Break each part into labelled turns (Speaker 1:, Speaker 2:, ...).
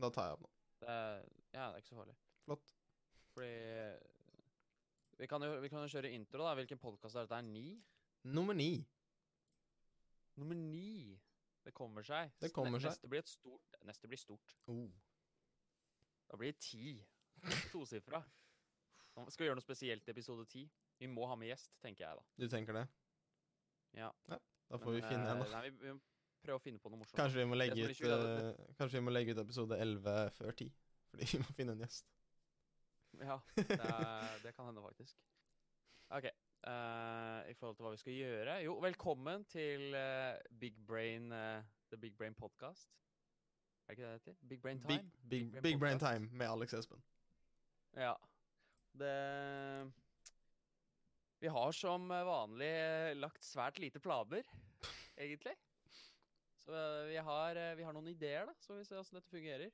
Speaker 1: Da tar jeg opp nå.
Speaker 2: Det er, ja, det er ikke så farlig.
Speaker 1: Flott.
Speaker 2: Fordi Vi kan jo, vi kan jo kjøre intro, da. Hvilken podkast er dette? Er ni?
Speaker 1: Nummer ni.
Speaker 2: Nummer ni. Det kommer seg.
Speaker 1: Det kommer
Speaker 2: Ne-
Speaker 1: seg.
Speaker 2: Neste blir et stort. Neste blir stort.
Speaker 1: Oh.
Speaker 2: Da blir det ti. Tosifra. Nå Skal vi gjøre noe spesielt i episode ti? Vi må ha med gjest, tenker jeg, da.
Speaker 1: Du tenker det?
Speaker 2: Ja.
Speaker 1: Da får vi
Speaker 2: Men,
Speaker 1: finne en, da.
Speaker 2: eh, Nei, vi, vi må prøve å finne på noe morsomt.
Speaker 1: Kanskje vi må legge
Speaker 2: Jeg
Speaker 1: ut,
Speaker 2: tror ikke
Speaker 1: eh, kanskje vi må legge ut episode 11 før 10. Fordi vi må finne en gjest.
Speaker 2: Ja, det, er- det kan hende, faktisk. OK. eh, I forhold til hva vi skal gjøre Jo, velkommen til eh, Big Brain eh, The Big Brain Podcast. Er det ikke det det heter? Big Brain Time?
Speaker 1: Big, big,
Speaker 2: Brain
Speaker 1: big Brain
Speaker 2: Podcast.
Speaker 1: Time med Alex Espen.
Speaker 2: Ja. Det Vi har som vanlig eh, lagt svært lite planer, egentlig. Så eh, vi har, eh, vi har noen ideer, da, så vi ser åssen dette fungerer.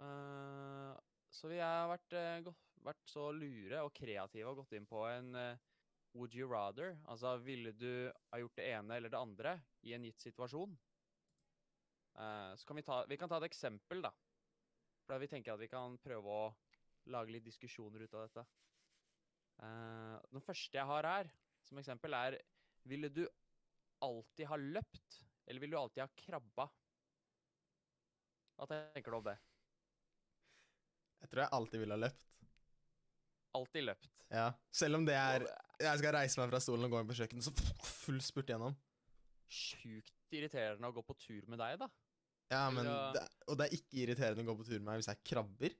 Speaker 2: Eh, så vi har vært, eh, gå- vært så lure og kreative og gått inn på en eh, Would you rather? Altså, ville du ha gjort det ene eller det andre i en gitt situasjon? Eh, så kan vi ta Vi kan ta et eksempel, da. For da vi tenker at vi kan prøve å lage litt diskusjoner ut av dette. Eh, den første jeg har her, som eksempel, er Ville du alltid ha løpt, eller ville du alltid ha krabba? Hva tenker du om det?
Speaker 1: Jeg tror jeg alltid ville ha løpt.
Speaker 2: Alltid løpt.
Speaker 1: Ja. Selv om det er Jeg skal reise meg fra stolen og gå inn på kjøkkenet, så full spurt gjennom.
Speaker 2: Sjukt irriterende å gå på tur med deg, da.
Speaker 1: Ja, men
Speaker 2: Ja.
Speaker 1: det, Og det er ikke irriterende å gå på tur med meg hvis jeg krabber.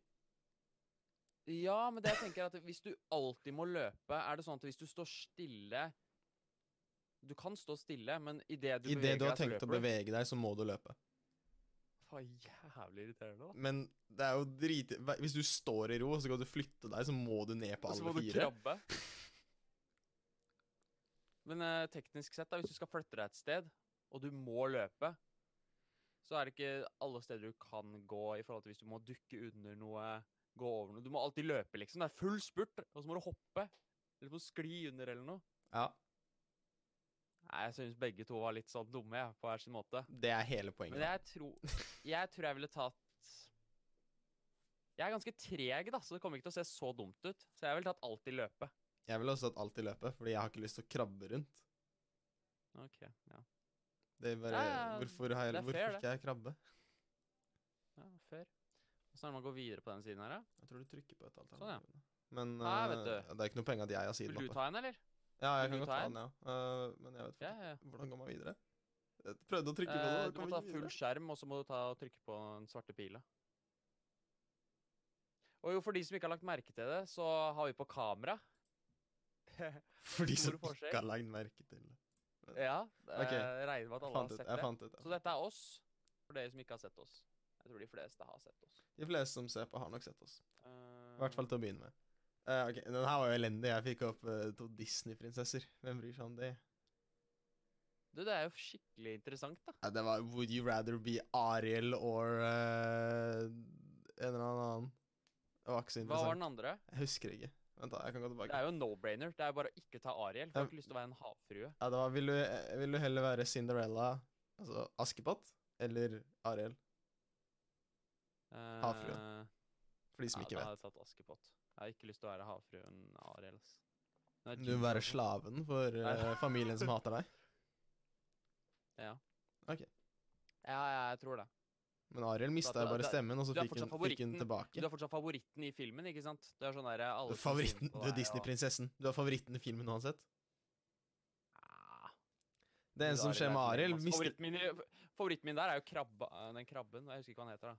Speaker 2: Ja, men det jeg tenker er at hvis du alltid må løpe, er det sånn at hvis du står stille Du kan stå stille, men idet du
Speaker 1: Idet
Speaker 2: beveger
Speaker 1: du har
Speaker 2: deg, så
Speaker 1: tenkt å
Speaker 2: løper du.
Speaker 1: bevege deg, så må du løpe.
Speaker 2: Faen, jævlig irriterende, da.
Speaker 1: Men det er jo drit... hva- Hvis du står i ro, og så skal du flytte deg, så må du ned på
Speaker 2: Og så må
Speaker 1: alle
Speaker 2: du
Speaker 1: fire.
Speaker 2: krabbe. Men eh, teknisk sett, da, hvis du skal flytte deg et sted, og du må løpe, så er det ikke alle steder du kan gå i forhold til hvis du må dukke under noe, gå over noe. Du må alltid løpe, liksom. Det er full spurt, og så må du hoppe. Eller må skli under eller noe.
Speaker 1: Ja,
Speaker 2: Nei, jeg syns begge to var litt sånn dumme, jeg, på hver sin måte.
Speaker 1: Det er hele poenget.
Speaker 2: Men jeg tror jeg, tror jeg ville tatt Jeg er ganske treg, da, så det kommer ikke til å se så dumt ut. Så jeg ville tatt alltid løpe.
Speaker 1: Jeg ville også hatt alt i løpet, fordi jeg har ikke lyst til å krabbe rundt.
Speaker 2: Ok, ja.
Speaker 1: Det er bare,
Speaker 2: Ja, ja,
Speaker 1: hvorfor har jeg,
Speaker 2: det er
Speaker 1: hvorfor
Speaker 2: fair, det.
Speaker 1: ikke jeg krabbe?
Speaker 2: Ja, fair. Åssen er det man går videre på den siden her, da?
Speaker 1: Jeg tror du trykker på et alternativ.
Speaker 2: Sånn, ja.
Speaker 1: nå. Men
Speaker 2: Nei, vet
Speaker 1: eh,
Speaker 2: du.
Speaker 1: det er ikke noe penger at jeg har siden
Speaker 2: Vil du
Speaker 1: oppe.
Speaker 2: ta en, eller?
Speaker 1: Ja, jeg kan
Speaker 2: vil du
Speaker 1: godt
Speaker 2: ta
Speaker 1: ta
Speaker 2: en?
Speaker 1: den, ja. Eh, men jeg vet
Speaker 2: Ja,
Speaker 1: fortsatt
Speaker 2: ja. ja.
Speaker 1: ikke hvordan går man videre. Jeg prøvde å trykke på
Speaker 2: Eh,
Speaker 1: det.
Speaker 2: du må ta full skjerm, og så må du ta og trykke på den svarte pila. Og jo, for de som ikke har lagt merke til det, så har vi på kamera.
Speaker 1: For de som
Speaker 2: Stor forskjell.
Speaker 1: ikke har lagt merke til det.
Speaker 2: ja, eh,
Speaker 1: Ok.
Speaker 2: regner med
Speaker 1: Jeg
Speaker 2: at alle har
Speaker 1: fant ut,
Speaker 2: sett
Speaker 1: jeg
Speaker 2: det.
Speaker 1: fant ut
Speaker 2: Så
Speaker 1: det.
Speaker 2: dette er oss, for dere som ikke har sett oss. Jeg tror de fleste har sett oss.
Speaker 1: De fleste som ser på, har nok sett oss. I hvert fall
Speaker 2: Eh,
Speaker 1: til å begynne med. Eh, ok, Den her var jo elendig. Jeg fikk opp eh, to Disney-prinsesser. Hvem bryr seg om det?
Speaker 2: Du, det er jo skikkelig interessant, da.
Speaker 1: Ja, det var Would you rather be Ariel or eh, en eller annen annen. Det var ikke så
Speaker 2: Hva var
Speaker 1: interessant.
Speaker 2: den andre?
Speaker 1: Jeg husker ikke. Vent, da. Jeg kan gå
Speaker 2: Det
Speaker 1: tilbake.
Speaker 2: er jo en no-brainer. Det er jo bare å ikke ta Ariel. For jeg har ikke lyst til å være en havfrue.
Speaker 1: Ja, det var Vil du, eh, vil du heller være Cinderella, altså Askepott, eller Ariel? Havfruen,
Speaker 2: Eh,
Speaker 1: For de som
Speaker 2: ja,
Speaker 1: ikke
Speaker 2: da
Speaker 1: vet.
Speaker 2: hadde jeg tatt Askepott. Jeg har ikke lyst til å være havfruen Ariel. ass. Hun er
Speaker 1: Du
Speaker 2: dyr,
Speaker 1: vil være
Speaker 2: altså.
Speaker 1: slaven for
Speaker 2: Nei.
Speaker 1: eh, familien som hater deg.
Speaker 2: Ja, ja, jeg tror det.
Speaker 1: Men Ariel mista
Speaker 2: Da-
Speaker 1: jo bare
Speaker 2: da-
Speaker 1: stemmen, og så
Speaker 2: du er
Speaker 1: fikk hun,
Speaker 2: fortsatt
Speaker 1: fikk hun
Speaker 2: favoritten. Du
Speaker 1: tilbake.
Speaker 2: er fortsatt favoritten i filmen, ikke sant? Du er sånn der,
Speaker 1: Du
Speaker 2: alle
Speaker 1: er
Speaker 2: som synger
Speaker 1: favoritten,
Speaker 2: på
Speaker 1: du er
Speaker 2: deg, og-
Speaker 1: Disney-prinsessen. Du er favoritten i filmen uansett.
Speaker 2: Ah,
Speaker 1: Det eneste som
Speaker 2: Ariel
Speaker 1: skjer
Speaker 2: er
Speaker 1: med
Speaker 2: ikke
Speaker 1: Ariel,
Speaker 2: med, ass.
Speaker 1: mister
Speaker 2: favoritten min, i- favoritten min der er jo krabba, den krabben. Jeg husker ikke hva han heter. da.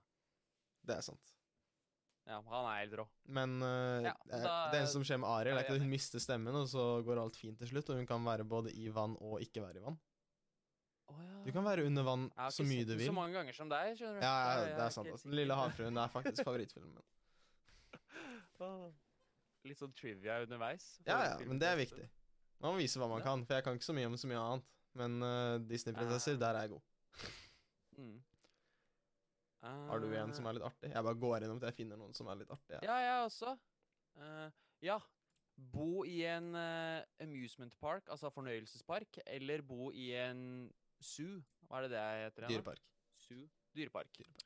Speaker 1: Det er sant.
Speaker 2: Ja, Han er helt rå.
Speaker 1: Men eh,
Speaker 2: Ja,
Speaker 1: det er-
Speaker 2: da-
Speaker 1: det eneste som skjer med Ariel,
Speaker 2: da
Speaker 1: er
Speaker 2: er
Speaker 1: ikke
Speaker 2: jeg
Speaker 1: at hun mister stemmen, og så går alt fint til slutt, og hun kan være både i vann og ikke være i vann. Du kan være under vann
Speaker 2: Jeg har
Speaker 1: så
Speaker 2: ikke
Speaker 1: mye
Speaker 2: sett
Speaker 1: du
Speaker 2: den
Speaker 1: vil.
Speaker 2: Så mange ganger som deg, skjønner du.
Speaker 1: Ja, ja,
Speaker 2: Så jeg-
Speaker 1: det
Speaker 2: jeg
Speaker 1: er sant.
Speaker 2: ikke
Speaker 1: Altså.
Speaker 2: helt
Speaker 1: Den lille
Speaker 2: sikker.
Speaker 1: havfruen er faktisk favorittfilmen min.
Speaker 2: Litt sånn trivia underveis.
Speaker 1: Ja, ja,
Speaker 2: Favorittfilm
Speaker 1: men det er
Speaker 2: først.
Speaker 1: viktig. Man må vise hva man
Speaker 2: Ja.
Speaker 1: kan, for jeg kan ikke så mye om så mye annet. Men eh, Disney-prinsesser,
Speaker 2: Ah.
Speaker 1: der er jeg god.
Speaker 2: Mm.
Speaker 1: Har du en som
Speaker 2: Eh,
Speaker 1: er litt artig? Jeg bare går innom til jeg finner noen som er litt artig. Ja.
Speaker 2: Ja, jeg også. Eh, ja. Bo i en eh, amusement park, altså fornøyelsespark, eller bo i en zoo. Hva er det det heter? igjen da?
Speaker 1: Dyrepark.
Speaker 2: Zoo. Dyrepark. Det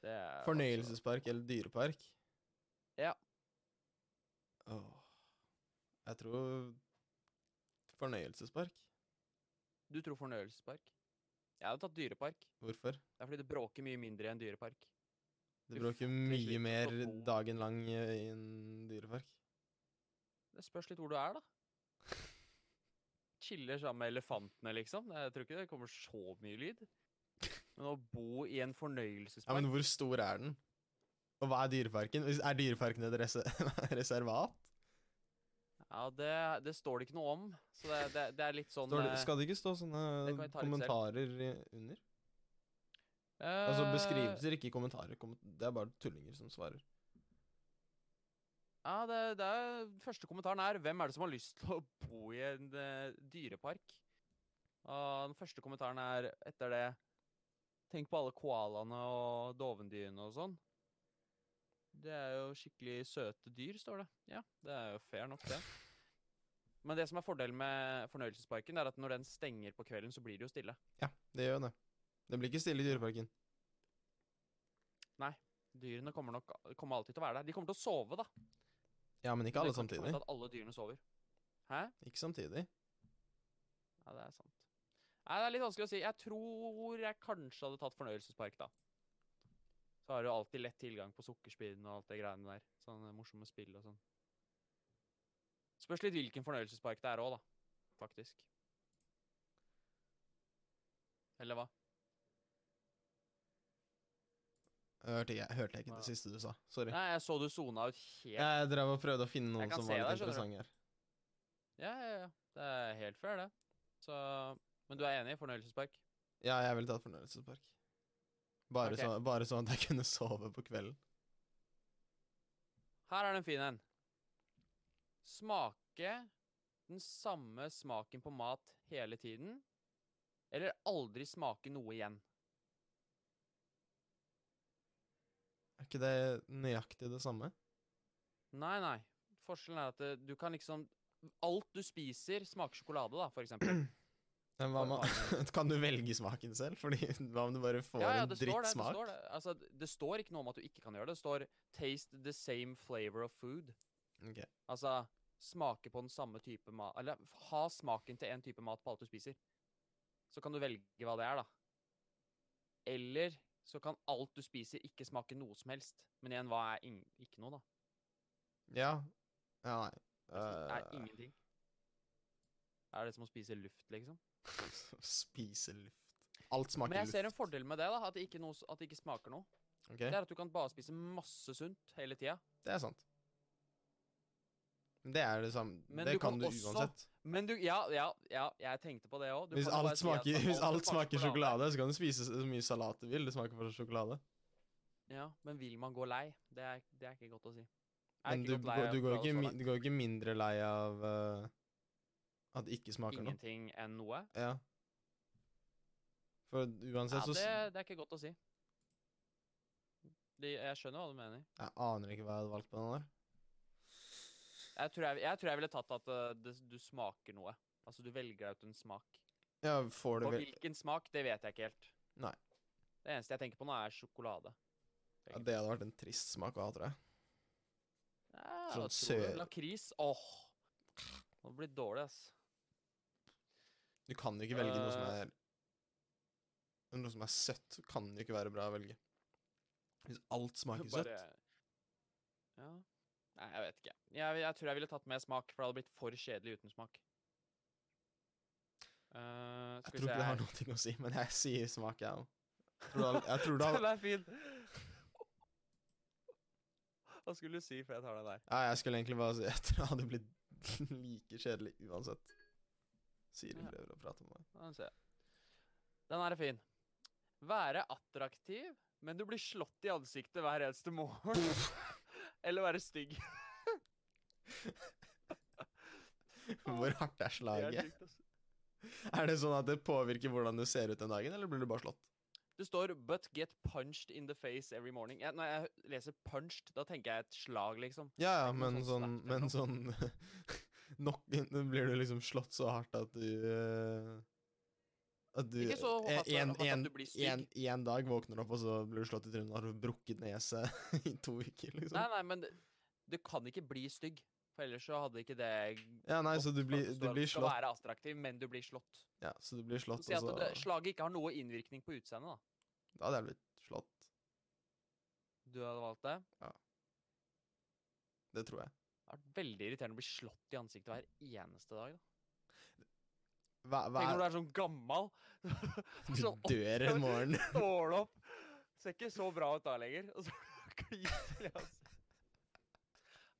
Speaker 2: Det er altså-
Speaker 1: Fornøyelsespark eller dyrepark?
Speaker 2: Ja.
Speaker 1: Åh. Jeg tror fornøyelsespark.
Speaker 2: Du tror fornøyelsespark? Jeg hadde tatt dyrepark.
Speaker 1: Hvorfor?
Speaker 2: Det er fordi det bråker mye mindre i en dyrepark.
Speaker 1: Du
Speaker 2: Uff,
Speaker 1: bråker
Speaker 2: til
Speaker 1: mye
Speaker 2: slutt
Speaker 1: mer
Speaker 2: så bo-
Speaker 1: dagen lang eh, i en dyrepark.
Speaker 2: Det spørs litt hvor du er, da. Chiller sammen med elefantene, liksom. Jeg tror ikke det kommer så mye lyd. Men å bo i en
Speaker 1: Ja,
Speaker 2: fornøyelsespark
Speaker 1: Men hvor stor er den? Og hva er dyreparken? Hvis- Er dyreparken et rese- reservat?
Speaker 2: Ja, det, det står det ikke noe om. Så det, det, det er litt sånn
Speaker 1: Står det,
Speaker 2: eh,
Speaker 1: skal det ikke stå
Speaker 2: det
Speaker 1: sånne
Speaker 2: kan jeg ta litt selv.
Speaker 1: kommentarer i- under? Altså
Speaker 2: eh,
Speaker 1: beskrivelser, ikke kommentarer. Kommen- Det er bare tullinger som svarer.
Speaker 2: Ja, det, det er, første kommentaren er Hvem er det som har lyst til å bo i en eh, dyrepark? Og den første kommentaren er etter det Tenk på alle koalaene og dovendyrene og sånn. Det er jo skikkelig søte dyr, står det. Ja, det er jo fair nok, det. Men det som er fordelen med fornøyelsesparken, er at når den stenger på kvelden, så blir det jo stille.
Speaker 1: Ja, det gjør det. Det blir ikke stille i dyreparken.
Speaker 2: Dyrene kommer nok kommer alltid til å være der. De kommer til å sove, da. Men
Speaker 1: Ja, men ikke alle
Speaker 2: det kommer til
Speaker 1: samtidig.
Speaker 2: At alle dyrene sover. Hæ?
Speaker 1: Ikke samtidig.
Speaker 2: Ja, det er sant. Nei, det er litt vanskelig å si. Jeg tror jeg kanskje hadde tatt fornøyelsespark, da. Så har du alltid lett tilgang på sukkerspinn og alt det greiene der. Sånne morsomme spill og sånn. Spørs litt hvilken fornøyelsespark det er òg, da. Faktisk. Eller hva?
Speaker 1: Hørte jeg, hørte jeg ikke
Speaker 2: Hva?
Speaker 1: det siste du sa. Sorry.
Speaker 2: Nei, jeg så du sona ut helt
Speaker 1: Jeg drev og prøvde å finne noen
Speaker 2: kan
Speaker 1: som
Speaker 2: se
Speaker 1: var litt
Speaker 2: deg, skjønner du.
Speaker 1: interessante her.
Speaker 2: Ja, ja, ja. Det er helt fair, det. Så Men du er enig? Fornøyelsespark?
Speaker 1: Ja, jeg ville tatt fornøyelsespark. Bare,
Speaker 2: Ok.
Speaker 1: så, bare sånn at jeg kunne sove på kvelden.
Speaker 2: Her er den fin en. Smake den samme smaken på mat hele tiden, eller aldri smake noe igjen.
Speaker 1: Er ikke det nøyaktig det samme?
Speaker 2: Nei, nei. Forskjellen er at eh, du kan liksom Alt du spiser, smaker sjokolade, da, for eksempel.
Speaker 1: Men hva
Speaker 2: Hva- hva
Speaker 1: med Kan du velge smaken selv? Fordi hva om du bare får
Speaker 2: Ja, ja,
Speaker 1: en
Speaker 2: det står det. Det
Speaker 1: drittsmak?
Speaker 2: står, det. Altså, det står ikke noe om at du ikke kan gjøre det. Det står 'taste the same flavor of food'.
Speaker 1: Ok.
Speaker 2: Altså smake på den samme type mat Eller ha smaken til én type mat på alt du spiser. Så kan du velge hva det er, da. Eller så kan alt du spiser, ikke smake noe som helst. Men igjen, hva er ing ikke noe, da?
Speaker 1: Ja. Ja, nei.
Speaker 2: Det er som- er
Speaker 1: Eh,
Speaker 2: ingenting. Er det som å spise luft, liksom?
Speaker 1: Spise luft. Alt
Speaker 2: Men
Speaker 1: smaker
Speaker 2: jeg ser en
Speaker 1: luft.
Speaker 2: fordel med det, da. At det ikke, noe, s- at det ikke smaker noe.
Speaker 1: Ok,
Speaker 2: Det er at du kan bare spise masse sunt hele tida.
Speaker 1: Det er sant. Det er det samme.
Speaker 2: Men
Speaker 1: det
Speaker 2: du
Speaker 1: kan
Speaker 2: kan
Speaker 1: du
Speaker 2: også-
Speaker 1: uansett.
Speaker 2: Men du Ja, ja, ja jeg tenkte på det òg.
Speaker 1: Hvis alt, smaker, hvis alt smaker sjokolade, så kan du spise så mye salat du vil. Det smaker fortsatt sjokolade.
Speaker 2: Ja, men vil man gå lei? Det er, det er ikke godt å si. Jeg er
Speaker 1: Men
Speaker 2: ikke
Speaker 1: du,
Speaker 2: gått lei
Speaker 1: går-
Speaker 2: av
Speaker 1: du, går
Speaker 2: sjokolade
Speaker 1: ikke,
Speaker 2: så
Speaker 1: mi-
Speaker 2: langt.
Speaker 1: du går ikke mindre lei av eh, at det ikke smaker noe.
Speaker 2: Ingenting enn noe?
Speaker 1: Ja. For
Speaker 2: Ja,
Speaker 1: uansett Altså, så
Speaker 2: det,
Speaker 1: s-
Speaker 2: det er ikke godt å si. Det, jeg skjønner hva du mener.
Speaker 1: Jeg aner ikke hva jeg hadde valgt på den der.
Speaker 2: Jeg tror jeg, jeg, tror jeg ville tatt at eh, det, du smaker noe. Altså, du velger ut en smak.
Speaker 1: Ja, får du
Speaker 2: Og
Speaker 1: vel
Speaker 2: hvilken smak, det vet jeg ikke helt.
Speaker 1: Nei.
Speaker 2: Det eneste jeg tenker på nå, er sjokolade.
Speaker 1: ja, Det hadde vært en trist smak å ha, tror jeg.
Speaker 2: Ja,
Speaker 1: Sånn
Speaker 2: jeg tror det.
Speaker 1: sø-
Speaker 2: Lakris. Åh! Nå blir det dårlig, ass.
Speaker 1: Du kan jo ikke velge noe som
Speaker 2: Eh.
Speaker 1: er Noe som er søtt, kan jo ikke være bra å velge. Hvis alt smaker
Speaker 2: Bare-
Speaker 1: søtt.
Speaker 2: Ja. Nei, jeg vet ikke. Jeg, jeg tror jeg ville tatt med smak, for det hadde blitt for kjedelig uten smak. Eh,
Speaker 1: Jeg
Speaker 2: skal vi
Speaker 1: tror
Speaker 2: se
Speaker 1: ikke det
Speaker 2: her.
Speaker 1: har noe å si, men jeg sier smak, jeg òg. Jeg tror det hadde
Speaker 2: Den er fin. Hva skulle du si før jeg tar den der?
Speaker 1: Ja, jeg skulle egentlig bare si at det hadde blitt like kjedelig uansett. Siri
Speaker 2: Ja.
Speaker 1: prøver å prate med meg.
Speaker 2: Ja, Den ser jeg. Den her er fin. Være attraktiv, men du blir slått i ansiktet hver eneste morgen. Eller være stygg.
Speaker 1: Hvor hardt er
Speaker 2: Det er
Speaker 1: slaget?
Speaker 2: sjukt, ass.
Speaker 1: Er det sånn at det påvirker hvordan du ser ut den dagen, eller blir du bare slått?
Speaker 2: Det står 'but get punched in the face every morning'. Jeg, når jeg leser punched, da tenker jeg et slag, liksom.
Speaker 1: Ja, ja,
Speaker 2: ikke noe
Speaker 1: men sånn,
Speaker 2: sånn slakt eller
Speaker 1: men sånn liksom nok, Blir du liksom slått så hardt at du eh, At du
Speaker 2: Ikke så
Speaker 1: eh,
Speaker 2: hardt,
Speaker 1: en,
Speaker 2: hardt at
Speaker 1: en,
Speaker 2: du blir stygg.
Speaker 1: en, en dag våkner du opp, og så blir du slått i trynet og har brukket nese i to uker, liksom.
Speaker 2: Nei, nei, men det- du kan ikke bli stygg. For ellers så hadde ikke det
Speaker 1: Ja, nei,
Speaker 2: gått,
Speaker 1: så du
Speaker 2: for at
Speaker 1: blir,
Speaker 2: står
Speaker 1: du
Speaker 2: at
Speaker 1: blir
Speaker 2: skal
Speaker 1: slått. Altså
Speaker 2: være attraktiv, men du blir slått.
Speaker 1: Ja, så du blir slått,
Speaker 2: Si at
Speaker 1: og så
Speaker 2: det, slaget ikke har noe innvirkning på utseendet, da.
Speaker 1: Da hadde jeg blitt slått.
Speaker 2: Du hadde valgt det.
Speaker 1: Det tror jeg.
Speaker 2: Det har vært veldig irriterende å bli slått i ansiktet hver eneste dag. da.
Speaker 1: Hva, hva
Speaker 2: Tenk når
Speaker 1: er
Speaker 2: du er sånn gammal.
Speaker 1: Du
Speaker 2: sånn
Speaker 1: dør
Speaker 2: år.
Speaker 1: en morgen.
Speaker 2: Stål opp. Ser ikke så bra ut da lenger. Og så kliner jeg oss.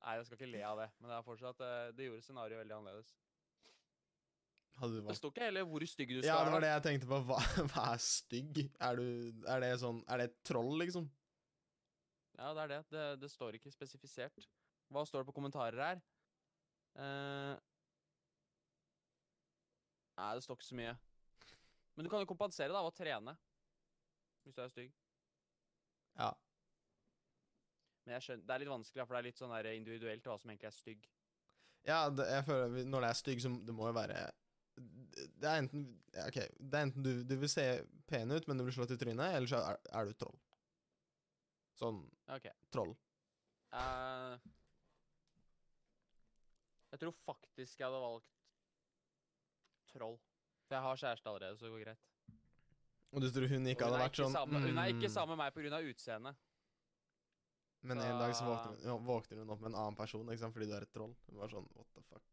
Speaker 2: Nei, jeg skal ikke le av det, men det er fortsatt eh, Det gjorde scenarioet veldig annerledes.
Speaker 1: Hadde du
Speaker 2: Det
Speaker 1: valgt
Speaker 2: står ikke heller hvor stygg du skal
Speaker 1: Ja, det var
Speaker 2: være.
Speaker 1: det jeg tenkte på. Hva, hva er stygg? Er, du, er det sånn Er det et troll, liksom?
Speaker 2: Ja, det er det. Det, det står ikke spesifisert. Hva står det på kommentarer her? Eh, Nei, det står ikke så mye. Men du kan jo kompensere da, ved å trene. Hvis du er stygg.
Speaker 1: Ja.
Speaker 2: Men jeg skjønner, det er litt vanskelig, da, for det er litt sånn der individuelt hva som egentlig er stygg.
Speaker 1: Ja, det, jeg føler vi- Når det er stygg, så m- det må jo være Det er enten ja, Ok, det er enten du, du vil se pen ut, men du blir slått i trynet, eller så er, er du troll. Sånn
Speaker 2: Ok.
Speaker 1: troll.
Speaker 2: Eh, jeg tror faktisk jeg hadde valgt troll. For jeg har kjæreste allerede, så det går greit.
Speaker 1: Og du tror hun
Speaker 2: Og
Speaker 1: ikke
Speaker 2: hun,
Speaker 1: hadde
Speaker 2: er
Speaker 1: vært
Speaker 2: ikke
Speaker 1: sånn
Speaker 2: sammen, hun er ikke
Speaker 1: mm,
Speaker 2: sammen med meg pga. utseendet.
Speaker 1: Men en dag så
Speaker 2: så-
Speaker 1: våkner hun, ja, våkner hun opp med en annen person ikke sant, fordi du er et troll. Hun var sånn What the fuck?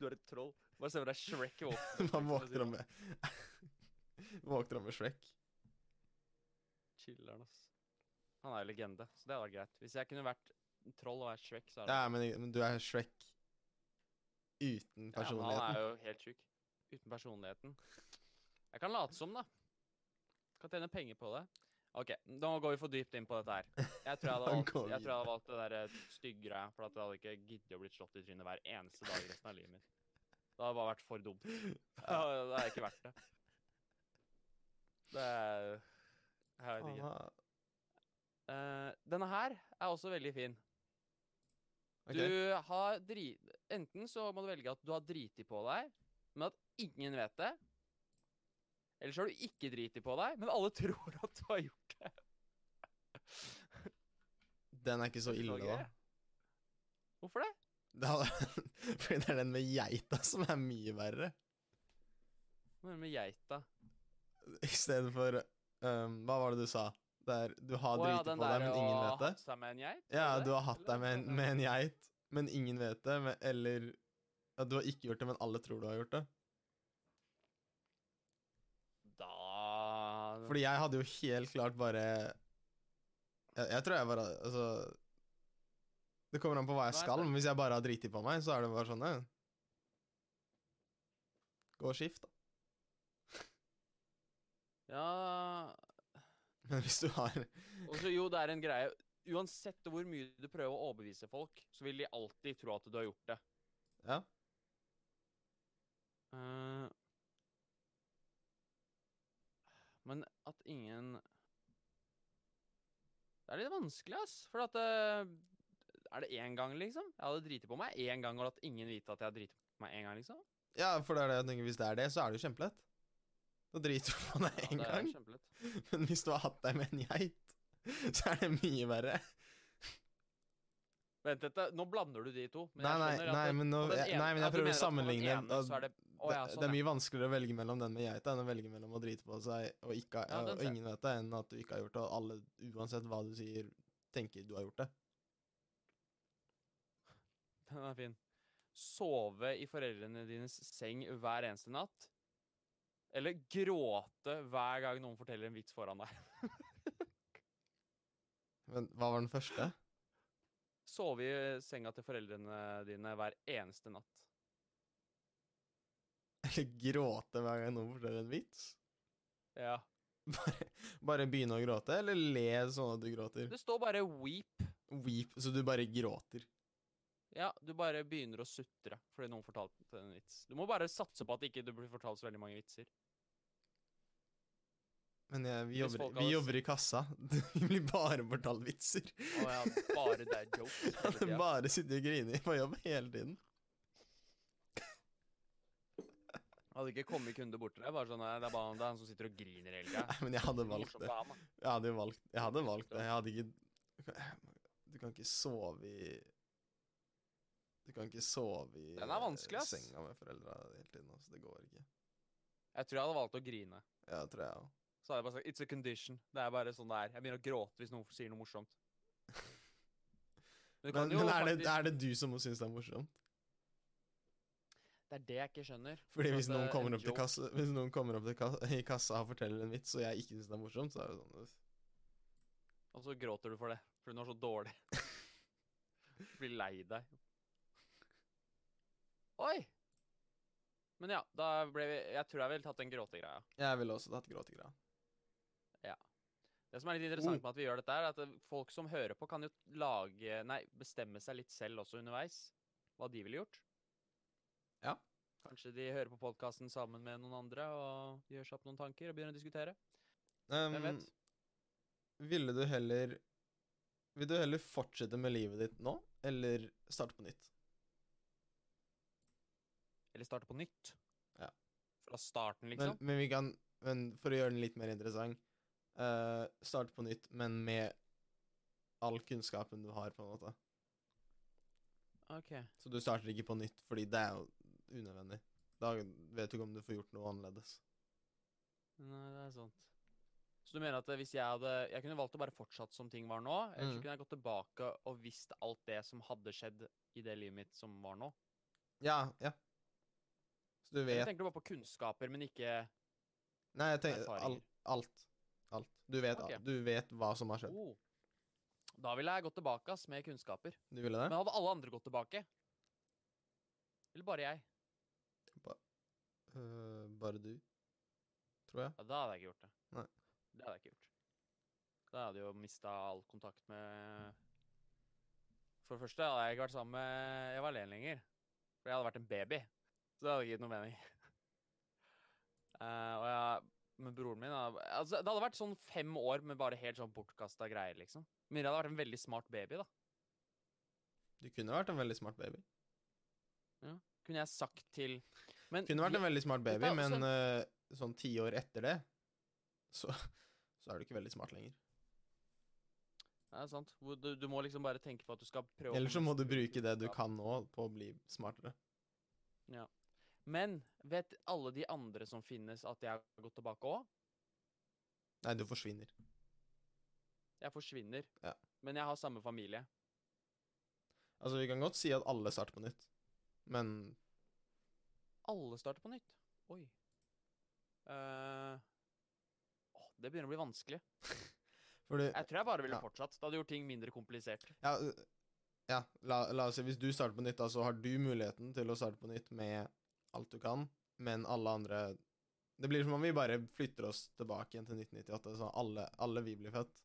Speaker 2: Du er et troll. Bare se for deg Shrek i våpen.
Speaker 1: Man
Speaker 2: Hva sier
Speaker 1: våkner opp
Speaker 2: man?
Speaker 1: med Våkner opp med Shrek.
Speaker 2: Chiller'n, ass. Han er jo legende, så det hadde vært greit. Hvis jeg kunne vært en troll og vært Shrek, så hadde
Speaker 1: Ja, men, men du er Shrek uten
Speaker 2: vært- Ja, men Han
Speaker 1: personligheten.
Speaker 2: er jo helt sjuk. Uten personligheten. Jeg kan late som, da. Kan tjene penger på det. OK, nå går vi for dypt inn på dette her. Jeg tror jeg hadde
Speaker 1: Nå
Speaker 2: valgt,
Speaker 1: går vi
Speaker 2: jeg tror jeg hadde valgt det derre stygggreia, for at jeg hadde ikke giddet å bli slått i trynet hver eneste dag resten av livet mitt. Det hadde bare vært for dumt. Det er ikke verdt det. Det er Jeg vet ikke.
Speaker 1: Faen,
Speaker 2: Eh, denne her er også veldig fin.
Speaker 1: ok.
Speaker 2: Du har dri... Enten så må du velge at du har driti på deg, men at ingen vet det. Eller så har du ikke driti på deg, men alle tror at du har gjort det.
Speaker 1: Den er ikke så ille,
Speaker 2: Beklager
Speaker 1: da.
Speaker 2: jeg. Hvorfor det?
Speaker 1: Det hadde, fordi det er den med geita som er mye verre.
Speaker 2: Hva mener du med geita?
Speaker 1: I stedet for um, Hva var det du sa? Der, du har
Speaker 2: Å ja,
Speaker 1: driti
Speaker 2: den
Speaker 1: på deg,
Speaker 2: der
Speaker 1: men
Speaker 2: å
Speaker 1: ingen
Speaker 2: ha
Speaker 1: vet det.
Speaker 2: hatt seg med en geit?
Speaker 1: Ja,
Speaker 2: var det
Speaker 1: du
Speaker 2: det?
Speaker 1: har hatt deg
Speaker 2: Eller
Speaker 1: med en,
Speaker 2: hva
Speaker 1: med
Speaker 2: var
Speaker 1: en geit, men ingen vet det. Men, eller ja, Du har ikke gjort det, men alle tror du har gjort det.
Speaker 2: det? Da
Speaker 1: Fordi jeg hadde jo helt klart bare Jeg, jeg tror jeg bare Altså Det kommer an på hva jeg
Speaker 2: Nei,
Speaker 1: skal,
Speaker 2: det-
Speaker 1: men hvis jeg bare har driti på meg, så er det bare sånn ja. Gå og skift, da.
Speaker 2: Ja
Speaker 1: Men hvis du har
Speaker 2: Og så jo, det er en greie. Uansett hvor mye du prøver å overbevise folk, så vil de alltid tro at du har gjort det.
Speaker 1: Ja.
Speaker 2: Eh, men at ingen Det er litt vanskelig, ass. For at eh, Er det én gang, liksom? Jeg hadde driti på meg én gang, og latt ingen vite at jeg hadde driti på meg én gang, liksom.
Speaker 1: Ja, for det er det jeg tenker, hvis det er det, så er det jo kjempelett. Da driter du på deg
Speaker 2: Ja,
Speaker 1: én
Speaker 2: det er
Speaker 1: gang.
Speaker 2: kjempelett.
Speaker 1: Men hvis du har hatt deg med en geit, så er det mye verre.
Speaker 2: Vent, dette, nå blander du de to.
Speaker 1: Nei, nei, nei, men, nå,
Speaker 2: og den
Speaker 1: jeg,
Speaker 2: ene-
Speaker 1: nei, men jeg
Speaker 2: ja,
Speaker 1: prøver å
Speaker 2: du mener at på den
Speaker 1: sammenligne.
Speaker 2: ene
Speaker 1: da-
Speaker 2: så er det- Å, ja,
Speaker 1: det,
Speaker 2: sånn,
Speaker 1: det er
Speaker 2: ja.
Speaker 1: mye vanskeligere å velge mellom den med geita enn å velge mellom å drite på seg og, ikke, ha-
Speaker 2: Ja, den
Speaker 1: og
Speaker 2: ser-
Speaker 1: ingen vet det, enn at du ikke har gjort det, og alle, uansett hva du sier, tenker du har gjort det.
Speaker 2: Den er fin. Sove i foreldrene dines seng hver eneste natt. Eller gråte hver gang noen forteller en vits foran deg.
Speaker 1: Men hva var den første?
Speaker 2: Sove i eh, senga til foreldrene dine hver eneste natt.
Speaker 1: Eller gråte hver gang noen forteller en vits?
Speaker 2: Ja.
Speaker 1: Bare, bare begynne å gråte, eller le sånn at du gråter?
Speaker 2: Det står bare 'weep'.
Speaker 1: Weep, så du bare gråter.
Speaker 2: Ja, du bare begynner å sutre fordi noen fortalte en vits. Du må bare satse på at ikke du blir fortalt så veldig mange vitser.
Speaker 1: Men jeg, vi,
Speaker 2: Hvis
Speaker 1: jobber,
Speaker 2: folk
Speaker 1: vi
Speaker 2: hadde s-
Speaker 1: jobber i kassa. Vi blir bare fortalt vitser.
Speaker 2: Og jeg har bare dad jokes. hele tiden.
Speaker 1: Bare sitter og griner på jobb hele tiden.
Speaker 2: Hadde ikke kommet kunder bort til deg. Bare sånn, nei, det er bare han, det er han som sitter og griner hele tida.
Speaker 1: Nei, men jeg hadde valgt det. Jeg hadde jo valgt, jeg hadde valgt det. Jeg hadde ikke Du kan ikke sove i Du kan ikke sove i
Speaker 2: Den er vanskelig, ass.
Speaker 1: senga med foreldra hele tiden. Altså. Det går ikke.
Speaker 2: Jeg tror jeg hadde valgt å grine.
Speaker 1: Ja, det tror jeg òg.
Speaker 2: Så hadde jeg bare sagt It's a condition. Det er bare sånn det er. Jeg begynner å gråte hvis noen sier noe morsomt. Men, du
Speaker 1: Men,
Speaker 2: kan jo
Speaker 1: men er, det,
Speaker 2: faktisk,
Speaker 1: er det du som må synes det er morsomt?
Speaker 2: det er det jeg ikke skjønner.
Speaker 1: Fordi
Speaker 2: Så
Speaker 1: hvis
Speaker 2: at,
Speaker 1: noen
Speaker 2: eh,
Speaker 1: kommer
Speaker 2: en
Speaker 1: opp til
Speaker 2: joke-
Speaker 1: kassa, hvis noen kommer opp til kassa, i kassa og forteller en vits, og jeg ikke synes det er morsomt, så er det sånn uff.
Speaker 2: Og så gråter du for det, fordi du er så dårlig. Du Blir lei deg. Oi! Men ja, da ble vi Jeg tror jeg ville tatt den gråtegreia.
Speaker 1: Jeg ville også tatt gråtegreia.
Speaker 2: Det som er litt interessant med at vi gjør dette, er at eh, folk som hører på, kan jo lage Nei, bestemme seg litt selv også underveis. Hva de ville gjort.
Speaker 1: Ja.
Speaker 2: Kanskje de hører på podkasten sammen med noen andre og gjør seg opp noen tanker og begynner å diskutere. Hvem
Speaker 1: Um,
Speaker 2: vet?
Speaker 1: ville du heller Vil du heller fortsette med livet ditt nå, eller starte på nytt?
Speaker 2: Eller starte på nytt.
Speaker 1: Ja.
Speaker 2: Fra starten,
Speaker 1: Men,
Speaker 2: liksom.
Speaker 1: men vi kan Men for å gjøre den litt mer interessant eh, Starte på nytt, men med all kunnskapen du har, på en måte.
Speaker 2: ok.
Speaker 1: Så du starter ikke på nytt, fordi det er jo unødvendig. Da vet du ikke om du får gjort noe annerledes.
Speaker 2: Nei, det er sant. Så du mener at eh, hvis jeg hadde Jeg kunne valgt å bare fortsette som ting var nå, eller så
Speaker 1: Mm.
Speaker 2: kunne jeg gått tilbake og visst alt det som hadde skjedd i det livet mitt som var nå?
Speaker 1: Ja, ja. Så du
Speaker 2: Eller
Speaker 1: vet
Speaker 2: tenker du bare på kunnskaper, men ikke
Speaker 1: Nei, jeg tenker al,
Speaker 2: erfaringer?
Speaker 1: alt. Alt. Du vet, al-
Speaker 2: Ok.
Speaker 1: du vet hva som har skjedd.
Speaker 2: Oh. Da ville jeg gått tilbake ass, med kunnskaper.
Speaker 1: Du ville det?
Speaker 2: Men hadde alle andre gått tilbake? Eller bare jeg?
Speaker 1: Eh, bare du, tror jeg.
Speaker 2: Ja, da hadde jeg ikke gjort det.
Speaker 1: Nei.
Speaker 2: Det hadde jeg ikke gjort. Da hadde jeg jo mista all kontakt med For det første hadde jeg ikke vært sammen med Eva Len lenger. For jeg hadde vært en baby. Så det hadde ikke gitt noe mening. Eh, og jeg, men broren min hadde, altså, Det hadde vært sånn fem år med bare helt sånn bortkasta greier, liksom. Men jeg hadde vært en veldig smart baby, da.
Speaker 1: Du kunne vært en veldig smart baby.
Speaker 2: Kunne jeg sagt til Men
Speaker 1: Kunne vært
Speaker 2: vi-
Speaker 1: en veldig smart baby,
Speaker 2: Dette er
Speaker 1: men eh, sånn ti år etter det, så, så er du ikke veldig smart lenger.
Speaker 2: Ja, det er sant. Hvor Du, du må liksom bare tenke på at du skal prøve å
Speaker 1: Eller så må
Speaker 2: mest
Speaker 1: du
Speaker 2: mulig
Speaker 1: bruke det du
Speaker 2: kunnskap.
Speaker 1: kan nå, på å bli smartere.
Speaker 2: Men vet alle de andre som finnes, at jeg har gått tilbake òg?
Speaker 1: Nei, du forsvinner.
Speaker 2: Jeg forsvinner.
Speaker 1: Ja.
Speaker 2: Men jeg har samme familie.
Speaker 1: Altså, vi kan godt si at alle starter på nytt, men
Speaker 2: Alle starter på nytt. Oi. Eh, åh, det begynner å bli vanskelig.
Speaker 1: fordi
Speaker 2: Jeg tror jeg bare ville
Speaker 1: Ja.
Speaker 2: fortsatt. Det hadde gjort ting mindre komplisert.
Speaker 1: Ja, øh, ja la, la oss si hvis du starter på nytt, da, så har du muligheten til å starte på nytt med alt du kan, men alle andre Det blir som om vi bare flytter oss tilbake igjen til 1998, så alle, alle vi blir født.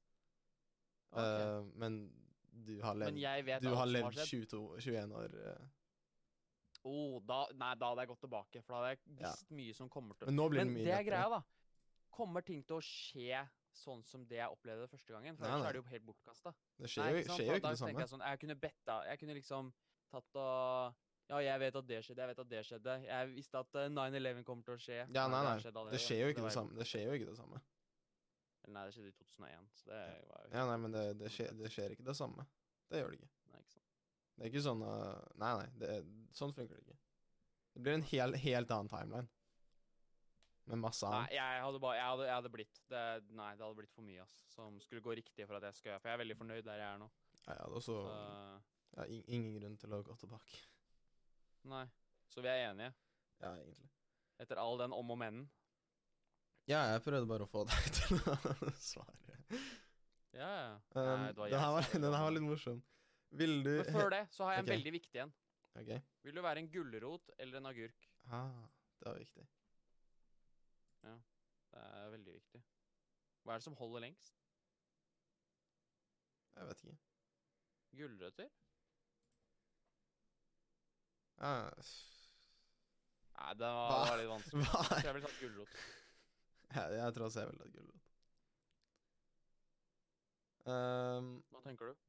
Speaker 2: Ok.
Speaker 1: Eh, men du har levd
Speaker 2: Men jeg vet
Speaker 1: Du
Speaker 2: alt
Speaker 1: har
Speaker 2: som
Speaker 1: levd
Speaker 2: har skjedd.
Speaker 1: 22, 21 år eh.
Speaker 2: Oh, da, nei, da hadde jeg gått tilbake, for da hadde jeg
Speaker 1: Ja.
Speaker 2: visst mye som kommer til
Speaker 1: Men nå blir
Speaker 2: Men
Speaker 1: det mye
Speaker 2: det er
Speaker 1: lettere.
Speaker 2: greia, da. Kommer ting til å skje sånn som det jeg opplevde det første gangen? For
Speaker 1: Nei,
Speaker 2: ellers
Speaker 1: nei.
Speaker 2: er det jo helt bortkasta.
Speaker 1: Det skjer, jo,
Speaker 2: ikke sant?
Speaker 1: skjer
Speaker 2: For
Speaker 1: jo ikke
Speaker 2: at da
Speaker 1: det
Speaker 2: tenker
Speaker 1: samme.
Speaker 2: Jeg, sånn, jeg kunne betta, jeg kunne liksom tatt og Ja, jeg vet at det skjedde, jeg vet at det skjedde. Jeg visste at eh, 9-11 kommer til å skje.
Speaker 1: Ja, nei,
Speaker 2: men det har
Speaker 1: nei,
Speaker 2: skjedd allerede,
Speaker 1: Det skjer jo
Speaker 2: så
Speaker 1: ikke det
Speaker 2: var-
Speaker 1: samme. Det skjer jo ikke det samme.
Speaker 2: eller Nei, det skjedde i 2001, så det var jo
Speaker 1: Ja, nei, men det, det, skjer, det skjer ikke det samme. Det gjør det ikke.
Speaker 2: Nei, ikke sant.
Speaker 1: Det er ikke sånn eh, Nei, nei, det, er- sånn funker det ikke. Det blir en hel, helt annen timeline. Med masse
Speaker 2: Nei,
Speaker 1: annet.
Speaker 2: jeg hadde bare Jeg hadde, jeg hadde blitt det, Nei, det hadde blitt for mye, ass. Som skulle gå riktig for at jeg skal For jeg er veldig fornøyd der jeg er nå.
Speaker 1: Ja, ja, og så
Speaker 2: Så,
Speaker 1: ja, in- Ingen grunn til å gå tilbake.
Speaker 2: nei. Så vi er enige.
Speaker 1: Ja, egentlig.
Speaker 2: Etter all den om og men-en.
Speaker 1: Ja, jeg prøvde bare å få deg til å svare.
Speaker 2: Ja, ja.
Speaker 1: Um,
Speaker 2: Nei, det var jeg
Speaker 1: den, her
Speaker 2: som
Speaker 1: var,
Speaker 2: hadde
Speaker 1: den her var
Speaker 2: det.
Speaker 1: litt morsom. Ville du
Speaker 2: Men før det så har jeg en
Speaker 1: Ok.
Speaker 2: veldig viktig en.
Speaker 1: Ok.
Speaker 2: Vil du være en gulrot eller en agurk?
Speaker 1: Ah, det var viktig.
Speaker 2: Det er veldig viktig. Hva er det som holder lengst?
Speaker 1: Jeg vet ikke.
Speaker 2: Gulrøtter?
Speaker 1: Ja,
Speaker 2: Nei, det var,
Speaker 1: Hva?
Speaker 2: var litt vanskelig.
Speaker 1: Hva
Speaker 2: Så
Speaker 1: er
Speaker 2: jeg ville tatt gulrot.
Speaker 1: Jeg, jeg tror også jeg ville hatt gulrot. Um,
Speaker 2: Hva tenker du?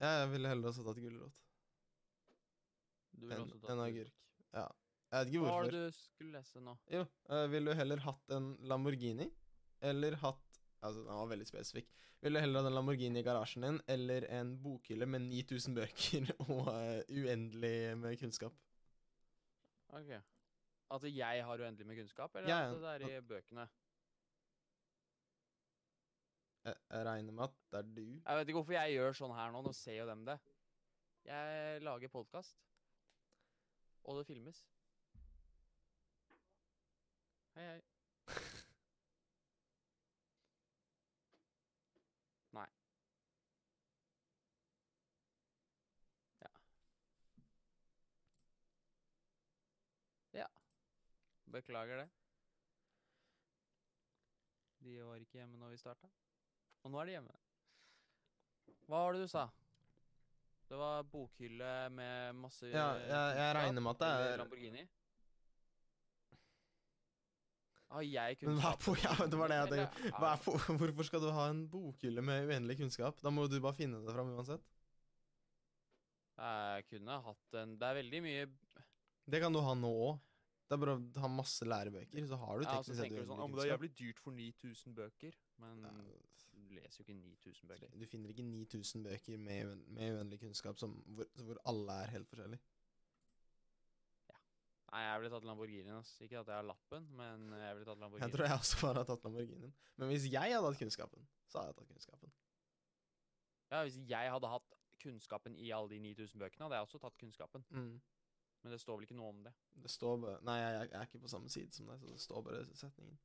Speaker 1: ja, jeg ville heller også tatt gulrot.
Speaker 2: Du ville
Speaker 1: En-
Speaker 2: også tatt
Speaker 1: en
Speaker 2: gulrot.
Speaker 1: agurk. Jeg vet ikke
Speaker 2: Hva var
Speaker 1: hvorfor.
Speaker 2: det du skulle lese nå?
Speaker 1: Jo, eh, ville du heller hatt en Lamborghini, eller hatt Altså, den var veldig spesifikk. Ville du heller hatt en Lamborghini i garasjen din, eller en bokhylle med 9000 bøker og eh, uendelig med kunnskap?
Speaker 2: Ok. At jeg har uendelig med kunnskap, eller
Speaker 1: Ja,
Speaker 2: at
Speaker 1: ja.
Speaker 2: det er i bøkene?
Speaker 1: Jeg, jeg regner med at det er du.
Speaker 2: Jeg vet ikke hvorfor jeg gjør sånn her nå. Nå ser jo dem det. Jeg lager podkast, og det filmes. Hei, hei. Nei. Ja. Ja. Beklager det. De var ikke hjemme når vi starta, og nå er de hjemme. Hva var det du sa? Det var bokhylle med masse
Speaker 1: Ja, jeg, jeg
Speaker 2: kunnskap,
Speaker 1: regner med at det
Speaker 2: eller
Speaker 1: er
Speaker 2: Lamborghini? Har Ah, jeg
Speaker 1: Men hva er
Speaker 2: kunnskap?
Speaker 1: po- ja, det var det jeg
Speaker 2: Eller
Speaker 1: tenkte. Hva
Speaker 2: er-
Speaker 1: er po hvorfor skal du ha en bokhylle med uendelig kunnskap? Da må du bare finne det fram uansett.
Speaker 2: Jeg kunne hatt en Det er veldig mye
Speaker 1: Det kan du ha nå òg. Det er bare å ha masse lærebøker, så har du
Speaker 2: ja, så
Speaker 1: teknisk sett
Speaker 2: tenker du sånn, «Å,
Speaker 1: uendelig
Speaker 2: men Det er
Speaker 1: kunnskap.
Speaker 2: jævlig dyrt for 9000 bøker. Men
Speaker 1: Ja,
Speaker 2: du leser jo ikke 9000 bøker.
Speaker 1: Du finner ikke 9000 bøker med, uen- med uendelig kunnskap som, hvor, hvor alle er helt forskjellige.
Speaker 2: Nei, jeg ville tatt Lamborghinien. ass. Ikke at jeg har lappen, men jeg ville tatt
Speaker 1: Jeg
Speaker 2: Lamborghini.
Speaker 1: tror jeg også bare har tatt Lamborghinien. Men hvis jeg hadde hatt kunnskapen, så hadde jeg tatt kunnskapen.
Speaker 2: Ja, Hvis jeg hadde hatt kunnskapen i alle de 9000 bøkene, hadde jeg også tatt kunnskapen. Men det står vel ikke noe om det.
Speaker 1: Mm. Det står bare Nei, jeg, jeg er ikke på samme side som deg, så det står bare setningen.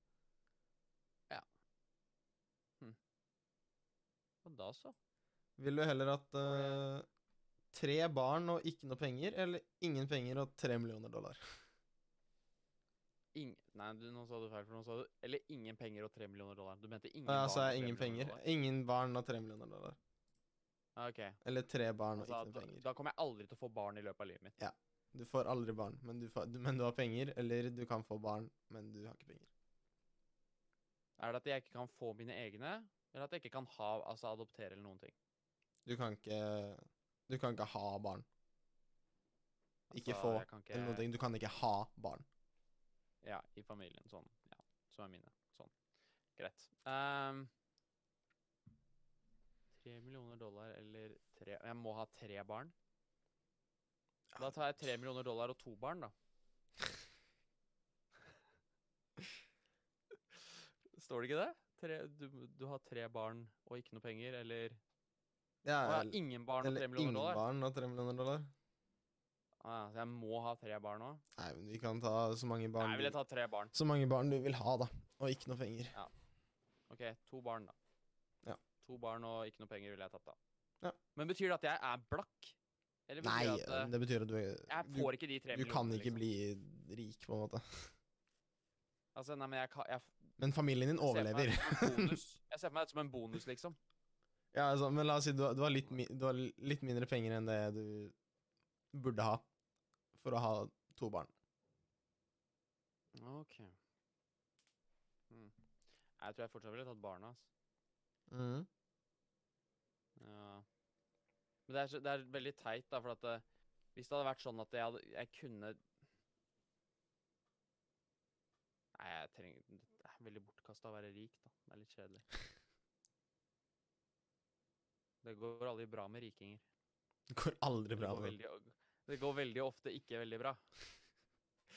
Speaker 2: Og da så.
Speaker 1: Vil du heller hatt eh, tre barn og ikke noe penger, eller ingen penger og tre millioner dollar?
Speaker 2: Ing Nei, du, nå sa du feil. for nå sa du Eller ingen penger og 3 millioner dollar. Du mente ingen
Speaker 1: Ja,
Speaker 2: barn
Speaker 1: så
Speaker 2: og
Speaker 1: er
Speaker 2: tre
Speaker 1: ingen
Speaker 2: millioner
Speaker 1: penger.
Speaker 2: dollar.
Speaker 1: Ingen barn og tre millioner dollar.
Speaker 2: Ja, Ok.
Speaker 1: Eller tre barn og
Speaker 2: Altså,
Speaker 1: ikke noe
Speaker 2: da,
Speaker 1: penger.
Speaker 2: da kommer jeg aldri til å få barn i løpet av livet mitt.
Speaker 1: Du får aldri barn, men du, fa- du, men du har penger, eller du kan få barn, men du har ikke penger.
Speaker 2: Er det at jeg ikke kan få mine egne, eller at jeg ikke kan ha, altså adoptere eller noen ting?
Speaker 1: Du kan ikke Du kan ikke ha barn. Ikke
Speaker 2: Altså,
Speaker 1: få
Speaker 2: jeg kan ikke,
Speaker 1: eller noen ting. Du kan ikke ha barn.
Speaker 2: Ja, i familien. Sånn. Ja, som er mine. Sånn. Greit. Ehm, Tre millioner dollar eller tre Jeg må ha tre barn. Da tar jeg tre millioner dollar og to barn, da. Står det ikke det? Tre, du, du har tre barn og ikke noe penger, eller
Speaker 1: Ja,
Speaker 2: Å ja,
Speaker 1: eller-
Speaker 2: ingen barn og
Speaker 1: Eller
Speaker 2: tre millioner
Speaker 1: ingen
Speaker 2: dollar?
Speaker 1: barn og tre millioner dollar.
Speaker 2: Å ja, så jeg må ha tre barn òg?
Speaker 1: Nei, men vi kan ta så mange
Speaker 2: Nei,
Speaker 1: barn,
Speaker 2: jeg ville tatt tre barn.
Speaker 1: du, så mange barn du vil ha, da. Og ikke noe penger.
Speaker 2: Ok, to barn, da.
Speaker 1: Ja.
Speaker 2: To barn og ikke noe penger ville jeg tatt, da.
Speaker 1: Ja.
Speaker 2: Men betyr det at jeg er blakk? Eller
Speaker 1: Nei,
Speaker 2: betyr det at eh,
Speaker 1: det betyr at du
Speaker 2: jeg
Speaker 1: Du,
Speaker 2: får ikke de tre
Speaker 1: du kan ikke
Speaker 2: liksom?
Speaker 1: bli rik, på en måte.
Speaker 2: Altså, nei, men jeg, kan, jeg, f-
Speaker 1: Men familien din
Speaker 2: jeg ser for meg
Speaker 1: overlever.
Speaker 2: det som en bonus. Jeg ser for meg det som en bonus, liksom.
Speaker 1: Ja, altså, men la oss si du, har- du, har litt mi, du har litt mindre penger enn det du burde ha for å ha to barn.
Speaker 2: Ok. Mm. Nei, Jeg tror jeg fortsatt ville tatt barna, ass. Mm.
Speaker 1: Mhm.
Speaker 2: Ja. Men det er, så- det er veldig teit, da, for at eh, hvis det hadde vært sånn at jeg, hadde, jeg kunne Nei, jeg trenger Det er veldig bortkasta å være rik, da. Det er litt kjedelig. Det går aldri bra med rikinger.
Speaker 1: Det går aldri
Speaker 2: Det
Speaker 1: bra.
Speaker 2: går
Speaker 1: med-
Speaker 2: veldig, det går veldig ofte ikke veldig bra.
Speaker 1: I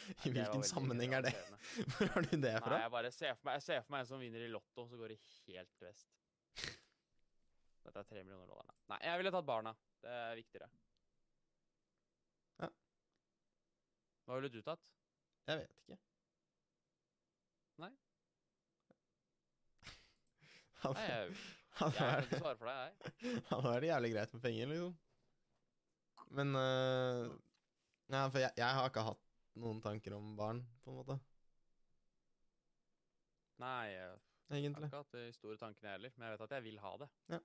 Speaker 2: Det var
Speaker 1: hvilken
Speaker 2: veldig
Speaker 1: sammenheng er det?
Speaker 2: generaliserende.
Speaker 1: Hvor har du det
Speaker 2: Nei,
Speaker 1: fra?
Speaker 2: jeg bare ser for meg, jeg ser for meg en som vinner i Lotto, så går det helt vest. Dette er tre millioner dollar. da. Nei, jeg ville tatt barna. Det er viktigere.
Speaker 1: Ja.
Speaker 2: Hva ville du tatt?
Speaker 1: Jeg vet ikke.
Speaker 2: Nei.
Speaker 1: Han,
Speaker 2: Nei, jeg,
Speaker 1: han,
Speaker 2: jeg kan ikke
Speaker 1: er,
Speaker 2: svare for deg, jeg.
Speaker 1: han er det jævlig greit med penger, liksom. Men øh, Nei, for jeg, jeg har ikke hatt noen tanker om barn, på en måte.
Speaker 2: Nei, jeg har
Speaker 1: Egentlig.
Speaker 2: ikke hatt de store tankene heller, men jeg vet at jeg vil ha det.
Speaker 1: Ja.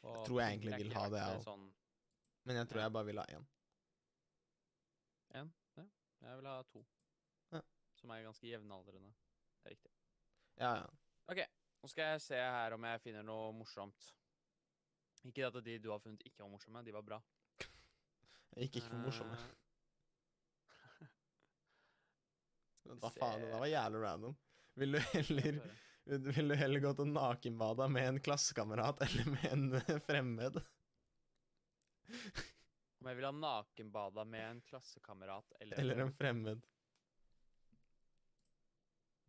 Speaker 2: Og
Speaker 1: Jeg tror jeg egentlig
Speaker 2: er
Speaker 1: vil
Speaker 2: ikke-
Speaker 1: ha
Speaker 2: er
Speaker 1: det,
Speaker 2: ikke
Speaker 1: jeg
Speaker 2: Sånn,
Speaker 1: Men jeg tror jeg bare vil ha én.
Speaker 2: jeg vil ha to.
Speaker 1: Ja.
Speaker 2: Som er ganske jevnaldrende. Det er riktig.
Speaker 1: Ja, ja.
Speaker 2: Nå skal jeg se her om jeg finner noe morsomt. Ikke at de du har funnet ikke var morsomme, de var bra. Mm,
Speaker 1: Jeg gikk ikke for morsomme.
Speaker 2: Eh,
Speaker 1: Da faen, det
Speaker 2: Se.
Speaker 1: var jævlig random. Vil du
Speaker 2: Skal
Speaker 1: heller
Speaker 2: vi høre.
Speaker 1: Vil du heller gå til nakenbada med en klassekamerat eller med en eh, fremmed?
Speaker 2: Om jeg vil ha nakenbada med en klassekamerat eller,
Speaker 1: Eller en fremmed?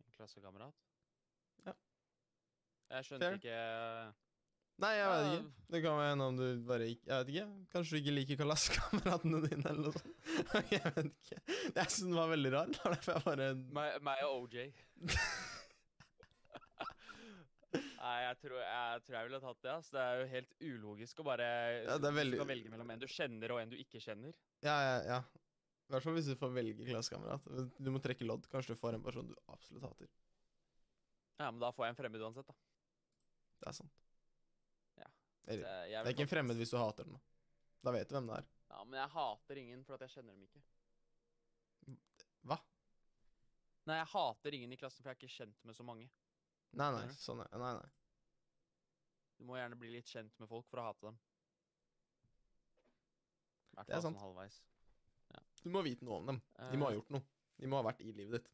Speaker 2: en klassekamerat?
Speaker 1: Ja.
Speaker 2: Jeg skjønte
Speaker 1: Fair.
Speaker 2: ikke Ah,
Speaker 1: Nei, jeg vet
Speaker 2: Ja,
Speaker 1: ikke. Det kan være noe om du bare ikke Jeg vet ikke. Kanskje du ikke liker klassekameratene dine, eller noe sånt. Jeg vet ikke. Jeg synes den var veldig rar. Det var derfor jeg bare
Speaker 2: Meg, meg og OJ. Nei, jeg tror jeg, tror jeg ville tatt det. ass. Det er jo helt ulogisk å bare
Speaker 1: Ja, det er
Speaker 2: Du
Speaker 1: veldig
Speaker 2: skal velge mellom en du kjenner og en du ikke kjenner.
Speaker 1: Ja, ja, ja. I hvert fall hvis du får velge klassekamerat. Du må trekke lodd. Kanskje du får en person du absolutt hater.
Speaker 2: Ja, Men da får jeg en fremmed uansett, da.
Speaker 1: Det er sant.
Speaker 2: Ja.
Speaker 1: Eller,
Speaker 2: Så jeg
Speaker 1: det
Speaker 2: ville
Speaker 1: er ikke
Speaker 2: tatt
Speaker 1: en fremmed hvis du hater den. da. Da vet du hvem det er.
Speaker 2: Ja, Men jeg hater ingen for at jeg kjenner dem ikke.
Speaker 1: Hva?
Speaker 2: Nei, jeg hater ingen i klassen, for jeg er ikke kjent med så mange.
Speaker 1: Nei, nei.
Speaker 2: Skjønner du?
Speaker 1: Sånn er Nei, nei.
Speaker 2: Du må gjerne bli litt kjent med folk for å hate dem. I hvert
Speaker 1: Det er
Speaker 2: fall sånn
Speaker 1: sant.
Speaker 2: halvveis. Eh,
Speaker 1: Du må vite noe om dem. De må ha gjort noe. De må ha vært i livet ditt.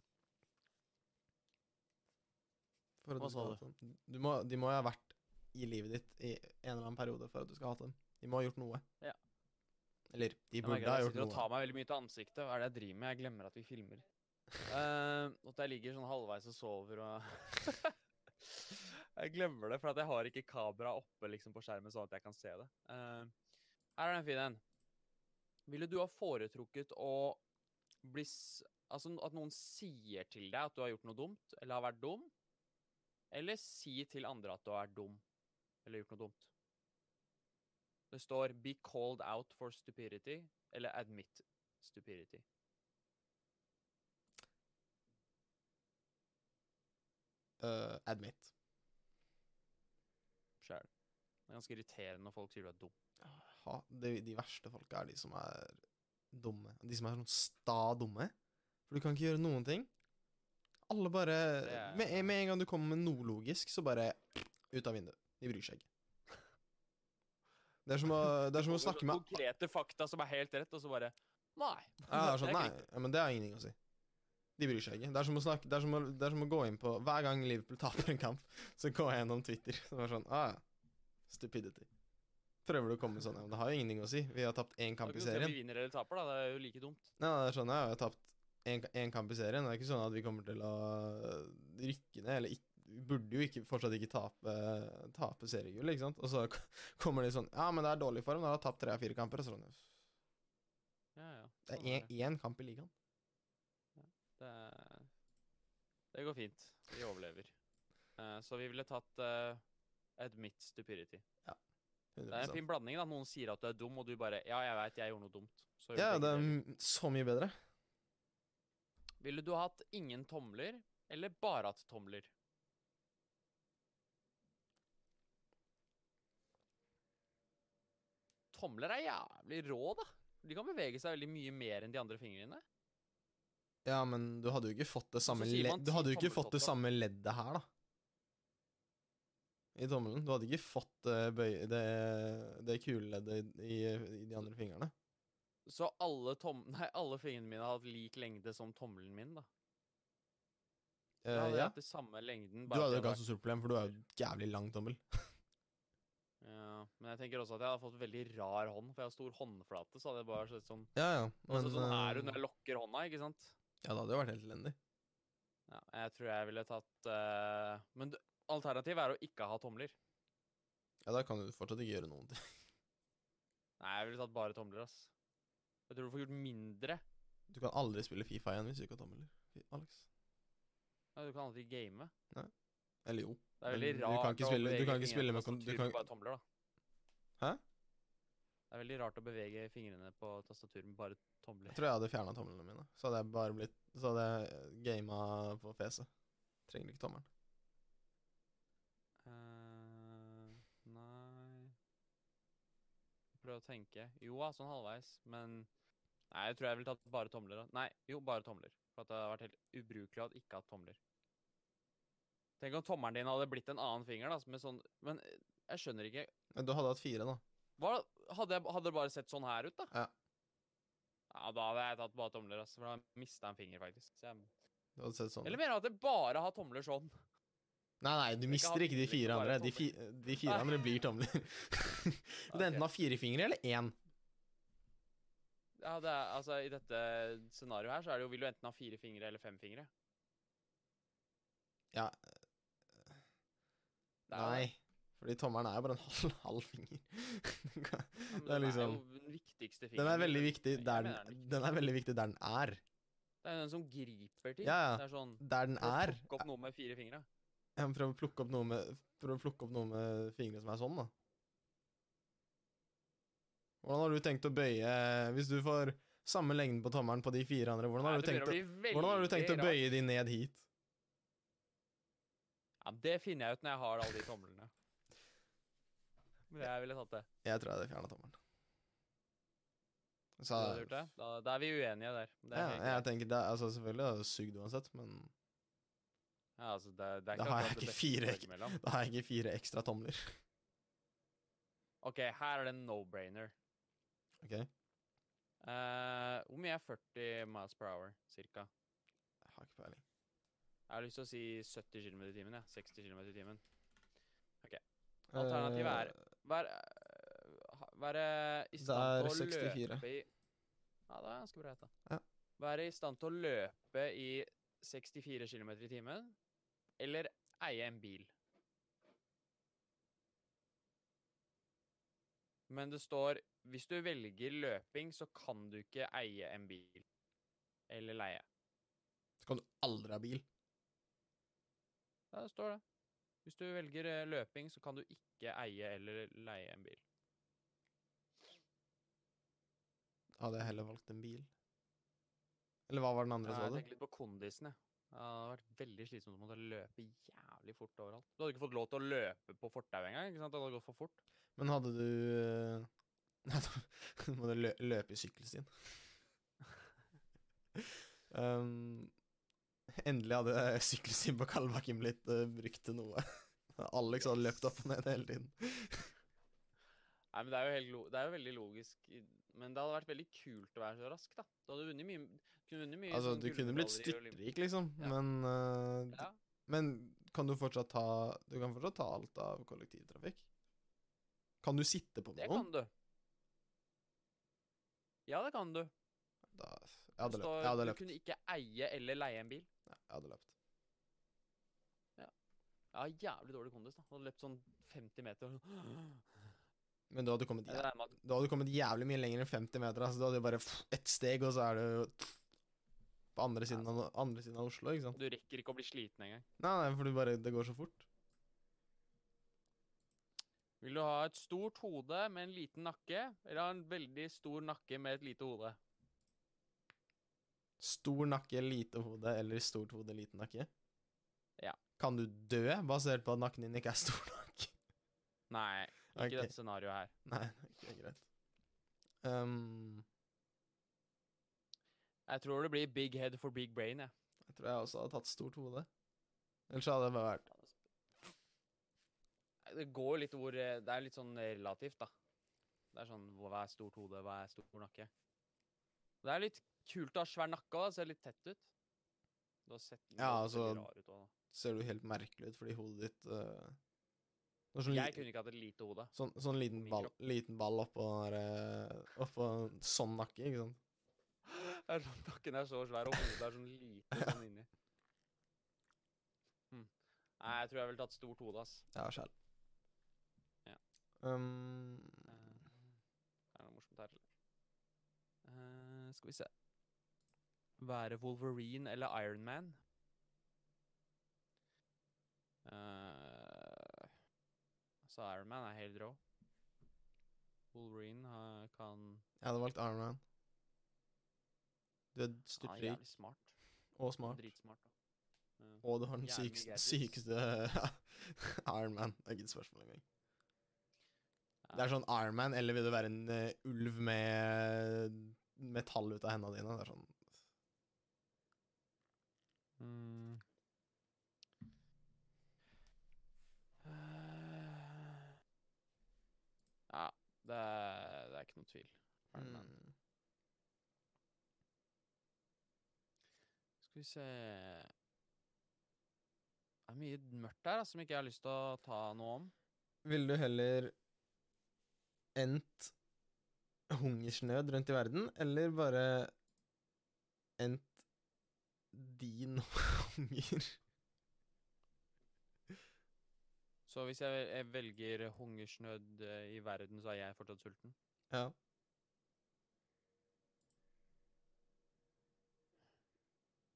Speaker 1: For at
Speaker 2: Hva
Speaker 1: du skal
Speaker 2: sa
Speaker 1: hate dem. Du må, de må ha vært i livet ditt i en eller annen periode for at du skal hate dem. De må ha gjort noe.
Speaker 2: Ja.
Speaker 1: Eller de
Speaker 2: Jeg
Speaker 1: burde
Speaker 2: merker at
Speaker 1: ha
Speaker 2: jeg
Speaker 1: gjort
Speaker 2: sitter og
Speaker 1: noe.
Speaker 2: tar meg veldig mye til ansiktet. Hva er det jeg driver med? Jeg glemmer at vi filmer. Eh, at jeg ligger sånn halvveis og sover og Jeg glemmer det, for at jeg har ikke kamera oppe liksom, på skjermen sånn at jeg kan se det. Eh, her er det en fin en. Ville du ha foretrukket å bli s Altså at noen sier til deg at du har gjort noe dumt, eller har vært dum? Eller si til andre at du har vært dum, eller gjort noe dumt? Det står 'be called out for stupidity' eller 'admit stupidity'.
Speaker 1: Øh, admit.
Speaker 2: Sjæl. Det er ganske irriterende når folk sier du er dum.
Speaker 1: Ha, de, de verste folka er de som er dumme. De som er sånn sta dumme. For du kan ikke gjøre noen ting. Alle bare
Speaker 2: Det er-
Speaker 1: med, med en gang du kommer med noe logisk, så bare ut av vinduet. De bryr seg ikke. Det er som å, det er som å
Speaker 2: Kommer
Speaker 1: snakke
Speaker 2: med
Speaker 1: med
Speaker 2: Konkrete fakta som er helt rett, og så bare Nei.
Speaker 1: Ja, det er sånn,
Speaker 2: ikke
Speaker 1: nei, ja, men det har ingenting å si. De bryr seg ikke. Det er, som å snakke, det, er som å, det er som å gå inn på Hver gang Liverpool taper en kamp, så går jeg gjennom Twitter. Så er det sånn, ah, ja. Stupidity. Prøver du å komme med sånn, ja, men det har jo ingenting å si. Vi har tapt én
Speaker 2: Da kan
Speaker 1: kamp
Speaker 2: du
Speaker 1: i
Speaker 2: se om
Speaker 1: serien.
Speaker 2: Vi vinner eller taper, da. Det er jo like dumt.
Speaker 1: Nei, nei, det er sånn, ja, vi har tapt en, ka- en kamp i serien. Det er ikke sånn at vi kommer til å øh, rykke ned, eller ikk- vi burde jo ikke, fortsatt ikke tape, tape seriegullet, ikke sant? Og så k- kommer de sånn, ja, men det er dårlig form, da har du tapt tre av fire kamper. og Sånn.
Speaker 2: Ja, ja.
Speaker 1: Det
Speaker 2: sånn
Speaker 1: er én- én kamp i ligaen.
Speaker 2: Det, er- det går fint. Vi overlever. Eh, så vi ville tatt eh, 'admit stupidity'. Det er en
Speaker 1: 100%.
Speaker 2: fin blanding. da. Noen sier at du er dum, og du bare 'ja, jeg veit, jeg gjorde noe dumt'. Så gjør
Speaker 1: Ja,
Speaker 2: begge
Speaker 1: det er
Speaker 2: deler.
Speaker 1: m- så mye bedre.
Speaker 2: Ville du hatt ingen tomler, eller bare hatt tomler? Tomler er jævlig rå, da. De kan bevege seg veldig mye mer enn de andre fingrene.
Speaker 1: Ja, men du hadde jo ikke fått det samme,
Speaker 2: sier
Speaker 1: le
Speaker 2: man
Speaker 1: du
Speaker 2: ti
Speaker 1: hadde jo ikke fått det
Speaker 2: tommeltotter.
Speaker 1: samme leddet her, da. I tommelen. Du hadde ikke fått det, bøy det, det kuleleddet i, i de andre fingrene.
Speaker 2: Så alle, tom nei, alle fingrene mine har hatt lik lengde som tommelen min, da.
Speaker 1: Eh,
Speaker 2: Da hadde jeg
Speaker 1: ja.
Speaker 2: hatt det samme lengden.
Speaker 1: Du hadde jo
Speaker 2: at
Speaker 1: ikke
Speaker 2: jeg
Speaker 1: hatt så stort problem, for du er jo jævlig lang tommel.
Speaker 2: var- ja, Men jeg tenker også at jeg hadde fått veldig rar hånd, for jeg har stor håndflate. Så hadde jeg bare sett sånn
Speaker 1: Ja, ja. Men
Speaker 2: altså, Sånn er
Speaker 1: eh,
Speaker 2: hun når jeg lokker hånda, ikke sant?
Speaker 1: Ja, det hadde jo vært helt elendig.
Speaker 2: Ja, jeg tror jeg ville tatt eh, Men d- alternativet er å ikke ha tomler.
Speaker 1: Ja, da kan du fortsatt ikke gjøre noen ting.
Speaker 2: Nei, jeg ville tatt bare tomler, ass. Jeg tror du får gjort mindre.
Speaker 1: Du kan aldri spille Fifa igjen hvis du ikke har tommeler. Fy- Alex.
Speaker 2: Ja, du kan aldri game.
Speaker 1: Eller jo.
Speaker 2: Det
Speaker 1: Men
Speaker 2: er veldig
Speaker 1: du kan
Speaker 2: rart
Speaker 1: ikke spille- du kan ikke spille med
Speaker 2: på
Speaker 1: kon- du
Speaker 2: tastaturet
Speaker 1: kan-
Speaker 2: med bare tomler, da.
Speaker 1: Hæ?
Speaker 2: Det er veldig rart å bevege fingrene på tastaturet med bare
Speaker 1: Jeg
Speaker 2: tomler.
Speaker 1: tror jeg hadde fjerna tomlene mine. Så hadde jeg bare blitt Så hadde jeg gama på PC. Trenger ikke tommelen.
Speaker 2: Eh, nei Prøv å tenke. Jo da, sånn halvveis, men Nei, jeg tror jeg ville tatt bare tomler. da. Nei, jo, bare tomler. For at det hadde vært helt ubrukelig å ha ikke hatt tomler. Tenk om tommelen din hadde blitt en annen finger, da, med sånn Men eh, jeg skjønner ikke.
Speaker 1: Men du hadde hatt fire, da.
Speaker 2: Hva, hadde, jeg, hadde det bare sett sånn her ut, da?
Speaker 1: Ja.
Speaker 2: Ja, Da hadde jeg tatt bare tomler, ass, for da mista jeg en finger, faktisk. Så jeg
Speaker 1: Du hadde sett sånn
Speaker 2: Eller mener du at det bare har tomler sånn?
Speaker 1: Nei, nei, du
Speaker 2: ikke
Speaker 1: mister
Speaker 2: ha
Speaker 1: ikke de
Speaker 2: tomler,
Speaker 1: fire andre.
Speaker 2: bare
Speaker 1: De, fi,
Speaker 2: tomler.
Speaker 1: de fire
Speaker 2: Nei.
Speaker 1: andre blir tomler. Du enten har fire fingre eller én.
Speaker 2: Ja, det er, altså I dette scenarioet her så er det jo, vil du enten ha fire fingre eller fem fingre.
Speaker 1: Ja,
Speaker 2: Det er jo
Speaker 1: nei.
Speaker 2: det.
Speaker 1: Fordi tommelen er jo bare en halv, halv finger. Den kan-
Speaker 2: Ja, men
Speaker 1: det er liksom
Speaker 2: jo den viktigste
Speaker 1: Den
Speaker 2: fingeren.
Speaker 1: er veldig
Speaker 2: Jeg
Speaker 1: viktig der
Speaker 2: mener den er
Speaker 1: den, den er veldig viktig der den er.
Speaker 2: Det er jo den som griper ting.
Speaker 1: Ja, ja.
Speaker 2: Det er sånn
Speaker 1: Der den er.
Speaker 2: Plukk opp noe med fire fingre.
Speaker 1: Jeg må prøve å plukke opp noe med, prøve å plukke opp noe med fingrene som er sånn, da. Hvordan har du tenkt å bøye Hvis du får samme lengden på tommelen på de fire andre, hvordan har,
Speaker 2: Nei,
Speaker 1: du
Speaker 2: det
Speaker 1: tenkt,
Speaker 2: begynner
Speaker 1: å,
Speaker 2: å bli
Speaker 1: hvordan har du tenkt å
Speaker 2: veldig rart.
Speaker 1: bøye de ned hit?
Speaker 2: Ja, Det finner jeg ut når jeg har alle de tomlene. Men jeg ville tatt det.
Speaker 1: Jeg tror jeg hadde fjerna tommelen.
Speaker 2: Du
Speaker 1: Så,
Speaker 2: hadde gjort det. Da, da er vi uenige der. Det er
Speaker 1: ja,
Speaker 2: helt
Speaker 1: jeg
Speaker 2: greit.
Speaker 1: tenker det, er- altså Selvfølgelig hadde det sugd uansett, men
Speaker 2: ja, altså, det, det er
Speaker 1: Da
Speaker 2: ikke
Speaker 1: har jeg
Speaker 2: akkurat det
Speaker 1: ikke
Speaker 2: beste
Speaker 1: fire-
Speaker 2: valget mellom.
Speaker 1: da har jeg ikke fire ekstra tomler.
Speaker 2: Ok, her er det en no-brainer.
Speaker 1: Ok?
Speaker 2: Eh, hvor mye er 40 miles per hour, cirka?
Speaker 1: Jeg har ikke peiling.
Speaker 2: Jeg har lyst til å si 70 km i timen, jeg. 60 km i timen. Alternativet er
Speaker 1: Eh,
Speaker 2: Være, ha- være eh, i
Speaker 1: Det
Speaker 2: stand til å
Speaker 1: er 64.
Speaker 2: løpe i Ja, det er ganske bra gjetta.
Speaker 1: Ja.
Speaker 2: Være i stand til å løpe i 64 km i timen, eller eie en bil. Men det står hvis du velger løping, så kan du ikke eie en bil. Eller leie.
Speaker 1: Så kan du aldri ha bil.
Speaker 2: Ja, det står det. Hvis du velger eh, løping, så kan du ikke eie eller leie en bil.
Speaker 1: Hadde jeg heller valgt en bil. Eller hva var den andre,
Speaker 2: Ja,
Speaker 1: sa
Speaker 2: jeg
Speaker 1: du?
Speaker 2: tenker litt på kondisen, jeg. Ja, Det hadde vært veldig slitsomt å måtte løpe jævlig fort overalt. Du hadde ikke fått lov til å løpe på fortauet engang. ikke sant? Det hadde gått for fort.
Speaker 1: Men hadde du eh, Nei, da må du lø løpe i sykkelstien. um, endelig hadde sykkelstien på Kalbakken blitt eh, brukt til noe. Alex hadde løpt opp og ned hele tiden.
Speaker 2: Nei, men Det er jo, helt lo det er jo veldig logisk. i- Men det hadde vært veldig kult å være så rask, da. Du hadde vunnet mye. Du kunne vunnet mye
Speaker 1: Altså,
Speaker 2: sånn
Speaker 1: du kunne blitt
Speaker 2: gullmedaljer i Olymp-
Speaker 1: styrtrik, liksom,
Speaker 2: Ja.
Speaker 1: men eh, d-
Speaker 2: Ja.
Speaker 1: Men kan du fortsatt ta Du kan fortsatt ta alt av kollektivtrafikk? Kan du sitte på
Speaker 2: Det
Speaker 1: noen?
Speaker 2: kan du. Ja, det kan du.
Speaker 1: Da, jeg hadde
Speaker 2: det
Speaker 1: løpt.
Speaker 2: står
Speaker 1: Jeg hadde
Speaker 2: du
Speaker 1: løpt.
Speaker 2: kunne ikke eie eller leie en bil.
Speaker 1: Ja, Jeg hadde løpt.
Speaker 2: Ja, jævlig dårlig kondis, da. Hadde løpt sånn 50 meter. og sånn.
Speaker 1: Men du hadde kommet
Speaker 2: Jeg regner med at
Speaker 1: Da hadde du kommet jævlig mye lenger enn 50 meter. Altså, da hadde du bare pff, ett steg, og så er du på andre siden, av, andre siden av Oslo. ikke sant?
Speaker 2: Du rekker ikke å bli sliten engang.
Speaker 1: Nei, nei, for du bare, det går så fort.
Speaker 2: Vil du ha et stort hode med en liten nakke, eller ha en veldig stor nakke med et lite hode?
Speaker 1: Stor nakke, lite hode, eller stort hode, liten nakke.
Speaker 2: Ja.
Speaker 1: Kan du dø basert på at nakken din ikke er stor nok?
Speaker 2: Nei, ikke
Speaker 1: Ok.
Speaker 2: dette scenarioet her.
Speaker 1: Nei, det er greit. Ehm,
Speaker 2: Jeg tror det blir big head for big brain, jeg.
Speaker 1: jeg tror jeg også hadde tatt stort hode. Ellers så hadde jeg bare vært
Speaker 2: Det går jo litt hvor eh, Det er litt sånn relativt, da. Det er sånn hva hva er stort hode, hva er stor nakke? Det er litt kult å ha svær nakke òg, det ser litt tett ut. Du har sett den
Speaker 1: Ja,
Speaker 2: ser veldig
Speaker 1: altså,
Speaker 2: rar ut også, da.
Speaker 1: Ser du helt merkelig ut fordi hodet ditt eh, det er sånn
Speaker 2: Jeg
Speaker 1: li-
Speaker 2: kunne ikke hatt et lite hode.
Speaker 1: Sånn, sånn liten,
Speaker 2: min
Speaker 1: ball, liten ball oppå, den der, eh, oppå en sånn nakke, ikke sant?
Speaker 2: Det er sånn, Nakken er så svær, og hodet er sånn lite sånn inni. Hm. Nei, jeg tror jeg ville tatt stort hode, ass.
Speaker 1: Ja, sjæl.
Speaker 2: Ja.
Speaker 1: Um,
Speaker 2: Eh, Er det noe morsomt her, eller? Eh, skal vi se. Være Wolverine eller Iron Man? Eh, altså, Iron Man er helt rå. Wolverine har- kan
Speaker 1: jeg hadde valgt Iron Man. Du er
Speaker 2: Han er
Speaker 1: styrtrik
Speaker 2: jævlig smart.
Speaker 1: og
Speaker 2: Han er
Speaker 1: smart,
Speaker 2: Dritsmart. da. Ja.
Speaker 1: og du har den
Speaker 2: jævlig
Speaker 1: sykeste,
Speaker 2: gadgets.
Speaker 1: sykeste Iron Man. Det er ikke et spørsmål engang. Det
Speaker 2: Ja.
Speaker 1: er sånn Iron Man, eller vil du være en eh, ulv med metall ut av hendene dine? Det er sånn
Speaker 2: Mm. Ja, det er, det er ikke noe
Speaker 1: hmm.
Speaker 2: tvil. Iron Man.
Speaker 1: mm.
Speaker 2: Skal Skal vi se Det er mye mørkt der altså, som ikke jeg har lyst til å ta noe om.
Speaker 1: Ville du heller endt hungersnød rundt i verden, eller bare endt din hunger?
Speaker 2: Så hvis jeg, vel- jeg velger hungersnød eh, i verden, så er jeg fortsatt sulten?
Speaker 1: Ja.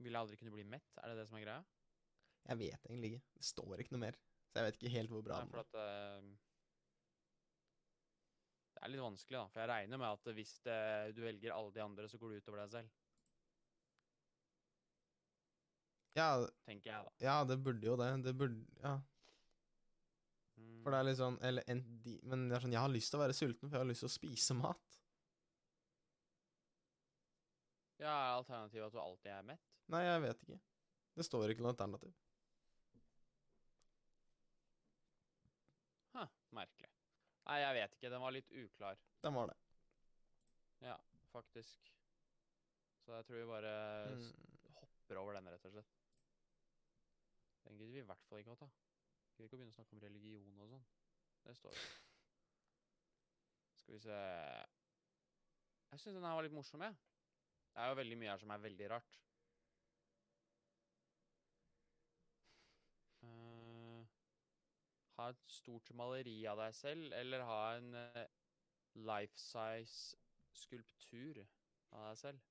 Speaker 2: Vil jeg aldri kunne bli mett? Er det det som er greia?
Speaker 1: Jeg vet egentlig ikke. Det står ikke noe mer. Så jeg vet ikke helt hvor bra
Speaker 2: Nei,
Speaker 1: den
Speaker 2: for
Speaker 1: var.
Speaker 2: at eh, Det er litt vanskelig, da. For jeg regner med at hvis det, du velger alle de andre, så går det utover deg selv.
Speaker 1: Ja,
Speaker 2: Tenker jeg, da.
Speaker 1: ja, det burde jo det. Det burde Ja.
Speaker 2: Mm.
Speaker 1: For det er litt sånn Eller en, de, Men det er sånn Jeg har lyst til å være sulten, for jeg har lyst til å spise mat.
Speaker 2: Ja, er alternativet at du alltid er mett?
Speaker 1: Nei, jeg vet ikke. Det står ikke noe alternativ.
Speaker 2: Huh, merkelig. Nei, jeg vet ikke. Den var litt uklar.
Speaker 1: Den var det.
Speaker 2: faktisk. Så jeg tror vi bare s-
Speaker 1: Mm.
Speaker 2: hopper over den, rett og slett. Den gidder vi i hvert fall ikke å ta. Gidder ikke å begynne å snakke om religion og sånn. Det står jo. Skal vi se Jeg syns den her var litt morsom, jeg. Det er jo veldig mye her som er veldig rart. Eh, ha et stort maleri av deg selv, eller ha en eh, life size skulptur av deg selv.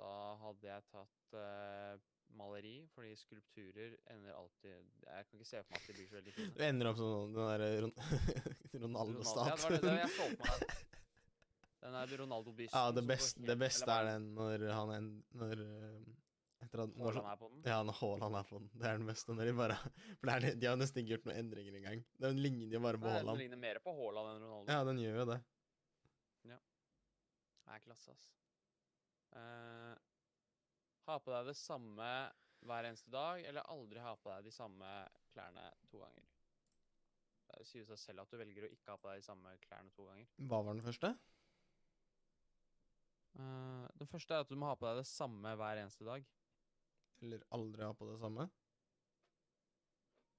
Speaker 2: Da hadde jeg tatt eh, maleri, fordi skulpturer ender alltid Jeg kan ikke se for meg at de blir så veldig fine.
Speaker 1: Du ender opp som den derre Ron
Speaker 2: Ronaldo- Ja, det var det, det var jeg så
Speaker 1: Ronaldo-statuen.
Speaker 2: på meg. Den er Ronaldo-bysten.
Speaker 1: Ja, det
Speaker 2: som går
Speaker 1: beste, det
Speaker 2: helt-
Speaker 1: beste er
Speaker 2: eller
Speaker 1: den når han en, Når eh, etter at,
Speaker 2: hva
Speaker 1: når,
Speaker 2: Haaland er på den.
Speaker 1: Ja, når Haaland er på den. Det er den beste. Når de bare For det er, det- de har nesten ikke gjort noen endringer engang. Den ligner jo bare på
Speaker 2: Nei, den
Speaker 1: Haaland.
Speaker 2: ligner mer på Haaland enn Ronaldo.
Speaker 1: Ja, den gjør jo det.
Speaker 2: Det er klasse, ass. Eh, ha på deg det samme hver eneste dag, eller aldri ha på deg de samme klærne to ganger. Det sier seg selv at du velger å ikke ha på deg de samme klærne to ganger.
Speaker 1: Hva var den første?
Speaker 2: Eh, den første er at du må ha på deg det samme hver eneste dag.
Speaker 1: Eller aldri ha på det samme?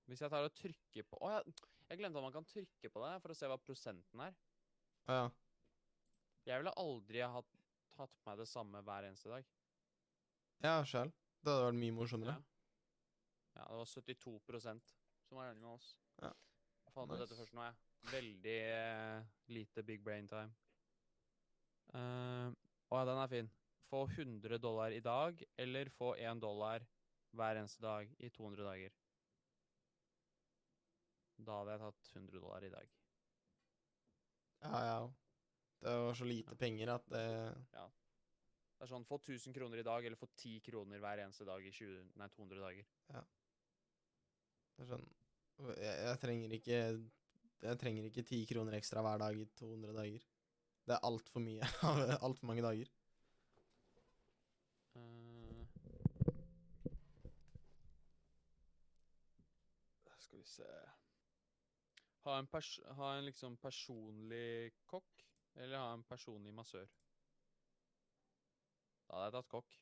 Speaker 2: Hvis jeg tar og trykker på Å ja, jeg glemte at man kan trykke på det for å se hva prosenten er.
Speaker 1: Å ja.
Speaker 2: Jeg ville aldri ha tatt på meg det samme hver eneste dag.
Speaker 1: Ja, sjæl. Det hadde vært mye morsommere.
Speaker 2: Ja, det var 72 som var enig med oss.
Speaker 1: Ja.
Speaker 2: Jeg fant ut dette
Speaker 1: Nice.
Speaker 2: først nå, jeg. Veldig eh, lite big brain time. Uh, å ja, den er fin. Få 100 dollar i dag, eller få 1 dollar hver eneste dag i 200 dager. Da hadde jeg tatt 100 dollar i dag.
Speaker 1: Ja, ja. Det var så lite penger at eh, det
Speaker 2: Det er sånn, få 1000 kroner i dag, eller få 10 kroner hver eneste dag i 20, nei, 200 dager.
Speaker 1: det er sånn jeg, jeg trenger ikke Jeg trenger ikke ti kroner ekstra hver dag i 200 dager. Det er altfor mye. altfor mange dager.
Speaker 2: Eh, Skal vi se Ha en, pers ha en liksom personlig kokk, eller ha en personlig massør? Da hadde jeg tatt kokk.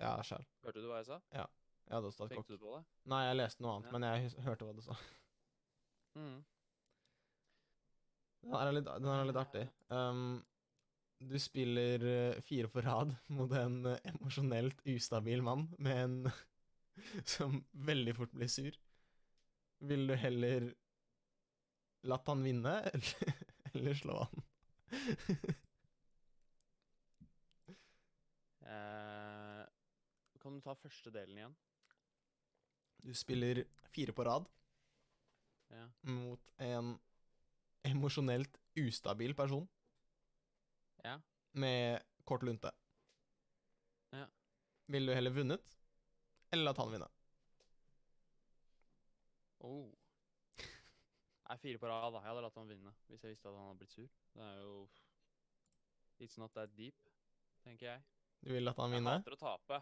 Speaker 1: Ja, sjæl.
Speaker 2: Hørte du hva jeg sa?
Speaker 1: Jeg hadde også tatt
Speaker 2: Tenkte
Speaker 1: kokk.
Speaker 2: du på det?
Speaker 1: Nei, jeg leste noe annet,
Speaker 2: Ja.
Speaker 1: men jeg hus- hørte hva du sa.
Speaker 2: Mm.
Speaker 1: Den her er litt, den her er litt artig. Um, du spiller eh, fire på rad mot en eh, emosjonelt ustabil mann med en som veldig fort blir sur. Vil du heller latt han vinne, eller, eller slå han?
Speaker 2: Eh, kan du ta første delen igjen?
Speaker 1: Du spiller fire på rad
Speaker 2: Ja.
Speaker 1: mot en emosjonelt ustabil person
Speaker 2: Ja.
Speaker 1: med kort lunte.
Speaker 2: Ja.
Speaker 1: Vil du heller vunnet, eller latt han vinne?
Speaker 2: Oh. Nei, fire på rad, da. Jeg hadde latt han vinne hvis jeg visste at han hadde blitt sur. Det er jo It's not that deep, tenker jeg.
Speaker 1: Du vil latt han
Speaker 2: Jeg
Speaker 1: vinne?
Speaker 2: hater å tape,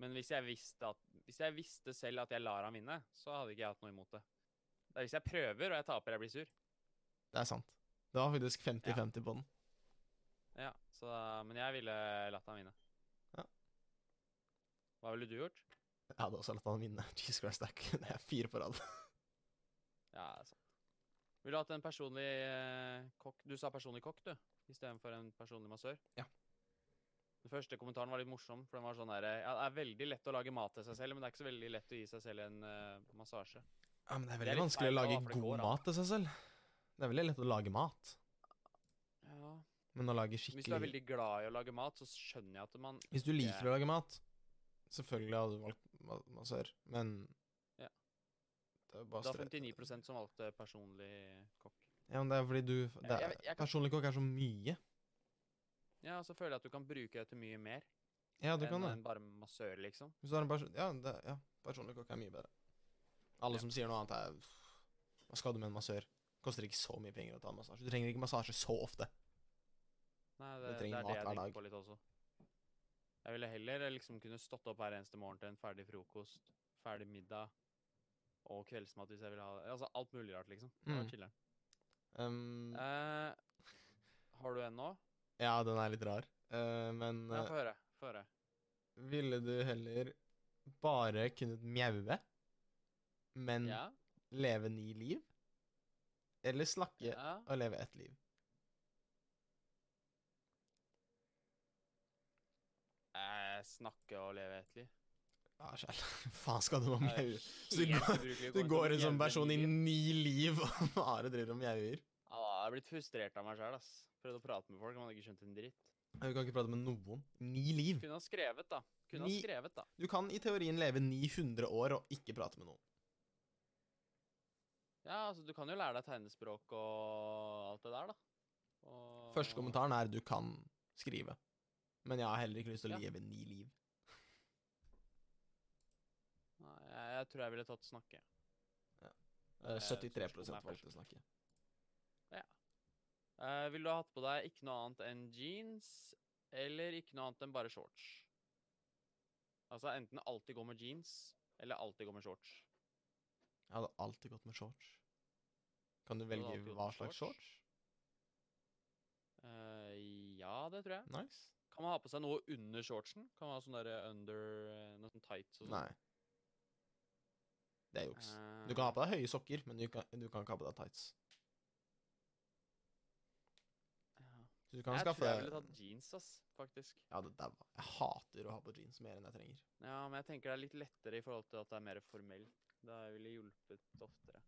Speaker 2: men hvis jeg, visste at, hvis jeg visste selv at jeg lar han vinne, så hadde ikke jeg hatt noe imot det. Det er hvis jeg prøver og jeg taper, jeg blir sur.
Speaker 1: Det er sant. Det var faktisk 50-50 på den.
Speaker 2: Ja, så, men jeg ville latt han vinne.
Speaker 1: Ja.
Speaker 2: Hva ville du gjort?
Speaker 1: Jeg hadde også latt han vinne. Jesus Christ, det er ikke- det er fire på rad.
Speaker 2: Ja, det er sant. Ville du hatt en personlig eh, kokk? Du sa personlig kokk, du, istedenfor en personlig massør?
Speaker 1: Ja.
Speaker 2: Den første kommentaren var litt morsom, for den var sånn der eh, Ja, det er veldig lett å lage mat til seg selv, men det er ikke så veldig lett å gi seg selv en eh, massasje.
Speaker 1: Ja, men det er
Speaker 2: Det er
Speaker 1: veldig
Speaker 2: litt
Speaker 1: vanskelig å
Speaker 2: feil, da,
Speaker 1: lage
Speaker 2: for det går
Speaker 1: god
Speaker 2: an.
Speaker 1: mat til seg selv. Det er veldig lett å lage mat,
Speaker 2: Ja.
Speaker 1: men å lage
Speaker 2: Hvis du er
Speaker 1: skikkelig
Speaker 2: veldig glad i å lage mat, så skjønner jeg at man
Speaker 1: Hvis du
Speaker 2: ikke-
Speaker 1: liker å lage mat Selvfølgelig hadde du valgt ma- massør, men
Speaker 2: Ja.
Speaker 1: Det er jo bare
Speaker 2: Da
Speaker 1: stre-
Speaker 2: 59 som valgte personlig kokk.
Speaker 1: Ja, men det er fordi du det
Speaker 2: Jeg-
Speaker 1: er,
Speaker 2: jeg- jeg kan-
Speaker 1: Personlig kokk er så mye.
Speaker 2: Ja, og så føler jeg at du kan bruke det til mye mer
Speaker 1: Ja, du
Speaker 2: enn
Speaker 1: kan det.
Speaker 2: en bare massør, liksom.
Speaker 1: Hvis du har en person... Ja, det, ja, personlig kokk er mye bedre. Alle
Speaker 2: Ja.
Speaker 1: som sier noe annet, er pff, Hva skal du med en massør? Koster ikke så mye penger å ta en massasje. Du trenger ikke massasje så ofte.
Speaker 2: Nei,
Speaker 1: Du
Speaker 2: det, det
Speaker 1: trenger
Speaker 2: er
Speaker 1: mat
Speaker 2: det jeg
Speaker 1: hver
Speaker 2: tenker
Speaker 1: dag.
Speaker 2: på litt også. Jeg ville heller liksom kunne stått opp hver eneste morgen til en ferdig frokost, ferdig middag og kveldsmat hvis jeg ville ha det. Altså alt mulig rart, liksom. Det var
Speaker 1: Mm.
Speaker 2: chiller'n.
Speaker 1: Um,
Speaker 2: Eh, har du en nå?
Speaker 1: ja, den er litt rar, Eh, men
Speaker 2: Ja,
Speaker 1: eh,
Speaker 2: få høre. Få høre.
Speaker 1: Ville du heller bare kunnet mjaue, men
Speaker 2: Ja?
Speaker 1: leve ni liv? Eller snakke
Speaker 2: ja?
Speaker 1: og leve ett liv?
Speaker 2: Eh, snakke og leve et liv.
Speaker 1: Ja, sjæl. Faen skal du med å
Speaker 2: Det er
Speaker 1: mjaue? Så du
Speaker 2: helt
Speaker 1: går- Du
Speaker 2: ubrukelig å komme til å
Speaker 1: går ut som
Speaker 2: mjaue
Speaker 1: person i
Speaker 2: liv.
Speaker 1: ni liv, og Are driver og mjauer.
Speaker 2: Ja, jeg har blitt frustrert av meg sjøl, ass. Prøvd å prate med folk, men hadde ikke skjønt en dritt.
Speaker 1: Nei, Du kan ikke prate med noen. Ni liv.
Speaker 2: Kunne ha skrevet, da. Kunne ha
Speaker 1: Ni-
Speaker 2: skrevet, da.
Speaker 1: Du kan i teorien leve 900 år og ikke prate med noen.
Speaker 2: Ja, altså, du kan jo lære deg tegnespråk og alt det der, da. Og...
Speaker 1: Første kommentaren er du kan skrive. Men jeg har heller ikke lyst til å
Speaker 2: Ja.
Speaker 1: leve ni liv.
Speaker 2: Nei, jeg, jeg tror jeg ville tatt snakke.
Speaker 1: Eh,
Speaker 2: Eh,
Speaker 1: 73
Speaker 2: spørsmålet er
Speaker 1: valgte å snakke.
Speaker 2: Eh, ville du ha hatt på deg ikke noe annet enn jeans, eller ikke noe annet enn bare shorts? Altså enten alltid gå med jeans, eller alltid gå med shorts.
Speaker 1: Jeg hadde alltid gått med shorts. Kan du
Speaker 2: hadde
Speaker 1: velge
Speaker 2: alltid gått
Speaker 1: hva
Speaker 2: med
Speaker 1: slags
Speaker 2: shorts?
Speaker 1: shorts?
Speaker 2: Eh, ja, det tror jeg.
Speaker 1: Nice.
Speaker 2: Kan man ha på seg noe under shortsen? Kan man ha sånn derre under eh, Noe sånn tights og sånn? Eh,
Speaker 1: Nei. Det er juks. Du kan ha på deg høye sokker, men du kan, du kan ikke ha på deg tights. Så du kan
Speaker 2: Jeg
Speaker 1: skaffe
Speaker 2: tror jeg ville
Speaker 1: deg
Speaker 2: tatt jeans, ass, faktisk.
Speaker 1: Ja, det daua. Jeg hater å ha på jeans mer enn jeg trenger.
Speaker 2: Ja, men jeg tenker det er litt lettere i forhold til at det er mer formelt. Det ville hjulpet oftere.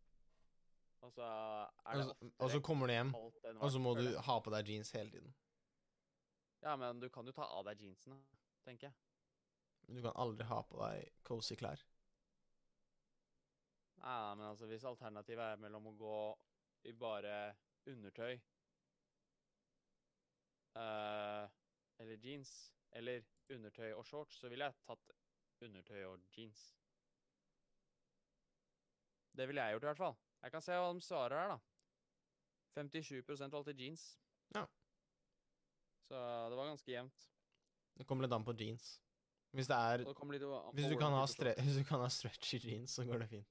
Speaker 2: Altså, er
Speaker 1: Og
Speaker 2: det
Speaker 1: så- Og så kommer du hjem,
Speaker 2: kaldt enn
Speaker 1: og så
Speaker 2: varmt,
Speaker 1: må
Speaker 2: føler
Speaker 1: du
Speaker 2: jeg.
Speaker 1: ha på deg jeans hele tiden.
Speaker 2: Ja, men du kan jo ta av deg jeansene, tenker jeg.
Speaker 1: Men du kan aldri ha på deg cozy klær.
Speaker 2: Nei, nei, men altså, hvis alternativet er mellom å gå i bare undertøy eh, Eller jeans, eller undertøy og shorts, så ville jeg tatt undertøy og jeans. Det ville jeg gjort, i hvert fall. Jeg kan se hva de svarer her, da. 57 valgte jeans.
Speaker 1: Ja.
Speaker 2: Så det var ganske jevnt.
Speaker 1: Det kommer litt an på jeans. Hvis det er
Speaker 2: Og det kom litt an på
Speaker 1: Hvis du
Speaker 2: hvordan
Speaker 1: kan ha,
Speaker 2: type
Speaker 1: stre
Speaker 2: shorts.
Speaker 1: hvis du kan ha stretchy jeans, så går det fint.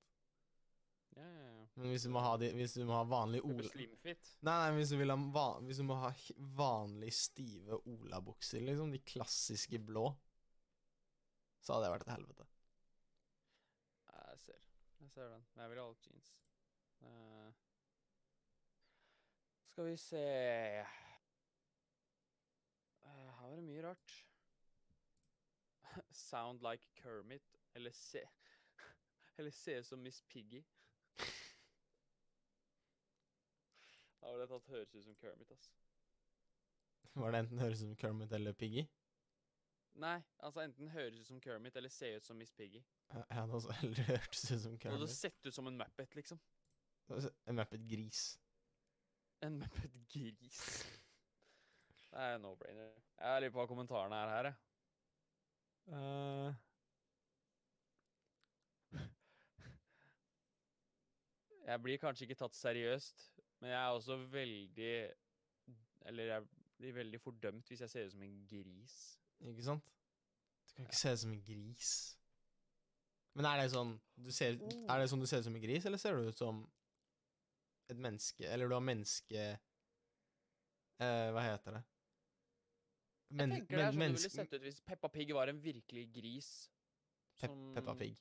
Speaker 2: Ja, ja, ja.
Speaker 1: Men hvis du må ha, de, hvis du må ha vanlig
Speaker 2: Type
Speaker 1: ola...
Speaker 2: Slim fit.
Speaker 1: Nei, nei, hvis du, vil ha va- hvis du må ha h- vanlig stive olabukser, liksom, de klassiske blå, så hadde det vært et helvete.
Speaker 2: Ja, Ah, Jeg ser. Jeg ser den. Men jeg ville valgt jeans. Eh, skal vi se Eh, Her var det mye rart. Sound like Kermit eller se Eller se ut som Miss Piggy. Da ville jeg tatt høres ut som Kermit, ass.
Speaker 1: Var det enten høres ut som Kermit eller Piggy?
Speaker 2: Nei, altså enten høres ut som Kermit eller se ut som Miss Piggy.
Speaker 1: Ja, Jeg hadde også heller hørtes ut som
Speaker 2: Du hadde
Speaker 1: Kermit.
Speaker 2: sett ut som en Muppet, liksom.
Speaker 1: Altså, En mappet gris.
Speaker 2: En Muppet gris. Det er en no-brainer. Jeg lurer på hva kommentarene er her, jeg. Eh. jeg blir kanskje ikke tatt seriøst, men jeg er også veldig Eller jeg blir veldig fordømt hvis jeg ser ut som en gris.
Speaker 1: Ikke sant? Du kan ikke se ut som en gris. Men er det sånn du ser, Er det sånn du ser ut som en gris, eller ser du ut som et menneske Eller du har menneske eh, Hva heter det? Men,
Speaker 2: jeg tenker det er sånn det ville
Speaker 1: menneske...
Speaker 2: sett ut hvis Peppa Pig var en virkelig gris.
Speaker 1: Pep- Peppa
Speaker 2: som-
Speaker 1: Pig.